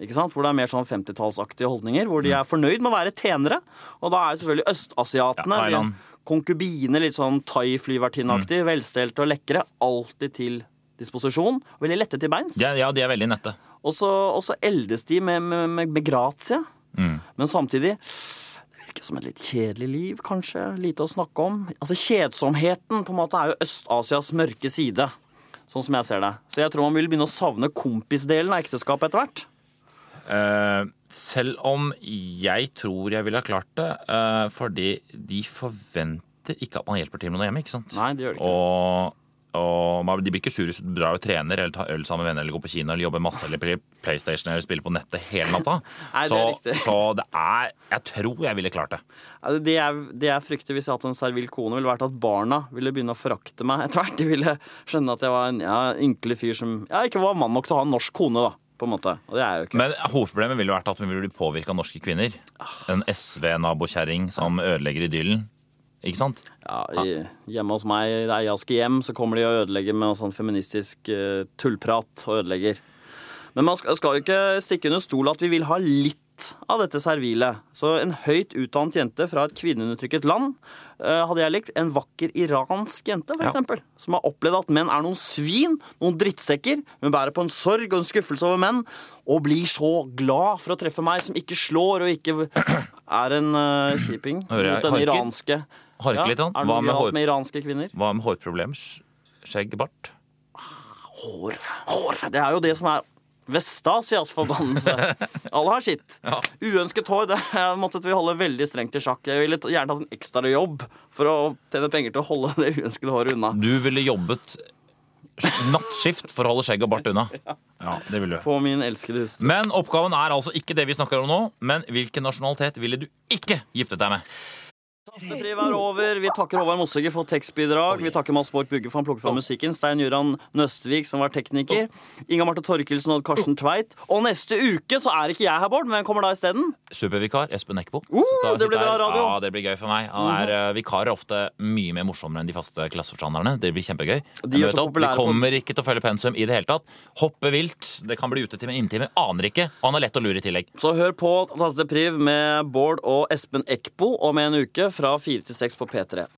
[SPEAKER 3] Ikke sant? Hvor det er mer sånn 50-tallsaktige holdninger.
[SPEAKER 2] Mm.
[SPEAKER 3] Hvor de er fornøyd med å være tjenere. Og da er selvfølgelig østasiatene
[SPEAKER 2] Ja,
[SPEAKER 3] de
[SPEAKER 2] Thailand. Mm.
[SPEAKER 3] konkubiner, litt sånn thai-flyvertinneaktig, velstelte og lekre. Alltid til disposisjon. og Veldig lette til beins.
[SPEAKER 2] De er, ja, de er veldig nette.
[SPEAKER 3] Og så og så eldes de med, med, med, med gratie. Men samtidig det virker som et litt kjedelig liv, kanskje. Lite å snakke om. Altså Kjedsomheten på en måte er jo Øst-Asias mørke side, sånn som jeg ser det. Så jeg tror man vil begynne å savne kompisdelen av ekteskapet etter hvert.
[SPEAKER 2] Eh, selv om jeg tror jeg ville ha klart det, eh, fordi de forventer ikke at man hjelper til med noe hjemme, ikke sant?
[SPEAKER 3] Nei, det gjør de ikke.
[SPEAKER 2] Og, og man- de blir ikke sure hvis du drar og trener, eller tar øl sammen med venner, eller går på kino, eller jobber masse, eller spiller PlayStation, eller spiller på nettet hele natta.
[SPEAKER 3] [laughs] Nei, det er
[SPEAKER 2] så,
[SPEAKER 3] riktig.
[SPEAKER 2] så det er Jeg tror jeg ville klart det.
[SPEAKER 3] Altså, Det jeg, det jeg frykter hvis jeg hadde hatt en servil kone, ville vært at barna ville begynne å forakte meg etter hvert. De ville skjønne at jeg var en ja, ynkelig fyr som ja, ikke var mann nok til å ha en norsk kone, da. På en måte. Og det er jeg jo ikke.
[SPEAKER 2] Men hovedproblemet ville jo vært at hun ville bli påvirka av norske kvinner. En SV-nabokjerring som ødelegger idyllen. Ikke sant?
[SPEAKER 3] Ja, i, hjemme hos meg, der jeg skal hjem, så kommer de og ødelegger med sånn feministisk eh, tullprat og ødelegger. Men man skal, skal jo ikke stikke under stol at vi vil ha litt av dette servile. Så en høyt utdannet jente fra et kvinneundertrykket land eh, hadde jeg likt. En vakker iransk jente, for
[SPEAKER 2] Ja.
[SPEAKER 3] eksempel. Som har opplevd at menn er noen svin, noen drittsekker. Hun bærer på en sorg og en skuffelse over menn, og blir så glad for å treffe meg, som ikke slår og ikke er en eh, kjiping mot
[SPEAKER 2] Hører jeg
[SPEAKER 3] den
[SPEAKER 2] harker?
[SPEAKER 3] iranske.
[SPEAKER 2] Harke litt, han.
[SPEAKER 3] Er det
[SPEAKER 2] Hva
[SPEAKER 3] noe
[SPEAKER 2] med,
[SPEAKER 3] galt
[SPEAKER 2] hår,
[SPEAKER 3] med iranske kvinner?
[SPEAKER 2] hva med hårproblemer? Skjegg, bart?
[SPEAKER 3] Hår. Hår. Det er jo det som er Vestasias forbannelse.
[SPEAKER 2] [laughs]
[SPEAKER 3] Alle har sitt.
[SPEAKER 2] Ja.
[SPEAKER 3] Uønsket hår det måttet vi holde veldig strengt i sjakk. Jeg ville t- gjerne hatt en ekstra jobb for å tjene penger til å holde [laughs] det uønskede håret unna.
[SPEAKER 2] Du ville jobbet nattskift for å holde skjegg og bart
[SPEAKER 3] [laughs]
[SPEAKER 2] unna. Ja, det ville du.
[SPEAKER 3] På min elskede hustru.
[SPEAKER 2] Men oppgaven er altså ikke det vi snakker om nå, men hvilken nasjonalitet ville du ikke giftet deg med?
[SPEAKER 3] Tastepriv er over. Vi takker Håvard Mossegge for tekstbidrag. Vi takker Mads Borch Bugge for han plukket fra musikken. Stein Jøran Nøstvik, som var tekniker. Inga Marte Torkelsen og Karsten Tveit. Og neste uke så er ikke jeg her, Bård. men Hvem kommer da isteden?
[SPEAKER 2] Supervikar Espen Eckbo.
[SPEAKER 3] Uh,
[SPEAKER 2] Så da
[SPEAKER 3] det blir
[SPEAKER 2] sitter jeg-
[SPEAKER 3] bra radio. Uh-huh.
[SPEAKER 2] Ja, det blir gøy for meg. Han er, eh, vikarer er ofte mye mer morsommere enn de faste klasseforstanderne. Det blir kjempegøy.
[SPEAKER 3] De er
[SPEAKER 2] Jeg møter
[SPEAKER 3] så
[SPEAKER 2] opp. Vi
[SPEAKER 3] populære på-
[SPEAKER 2] kommer ikke til å følge pensum i det hele tatt. Hoppe vilt. Det kan bli utetime, innetime. Aner ikke. Og han er lett å lure i tillegg.
[SPEAKER 3] Så hør på Tastepriv med Bård og Espen Eckbo om en uke fra fire til seks på P3.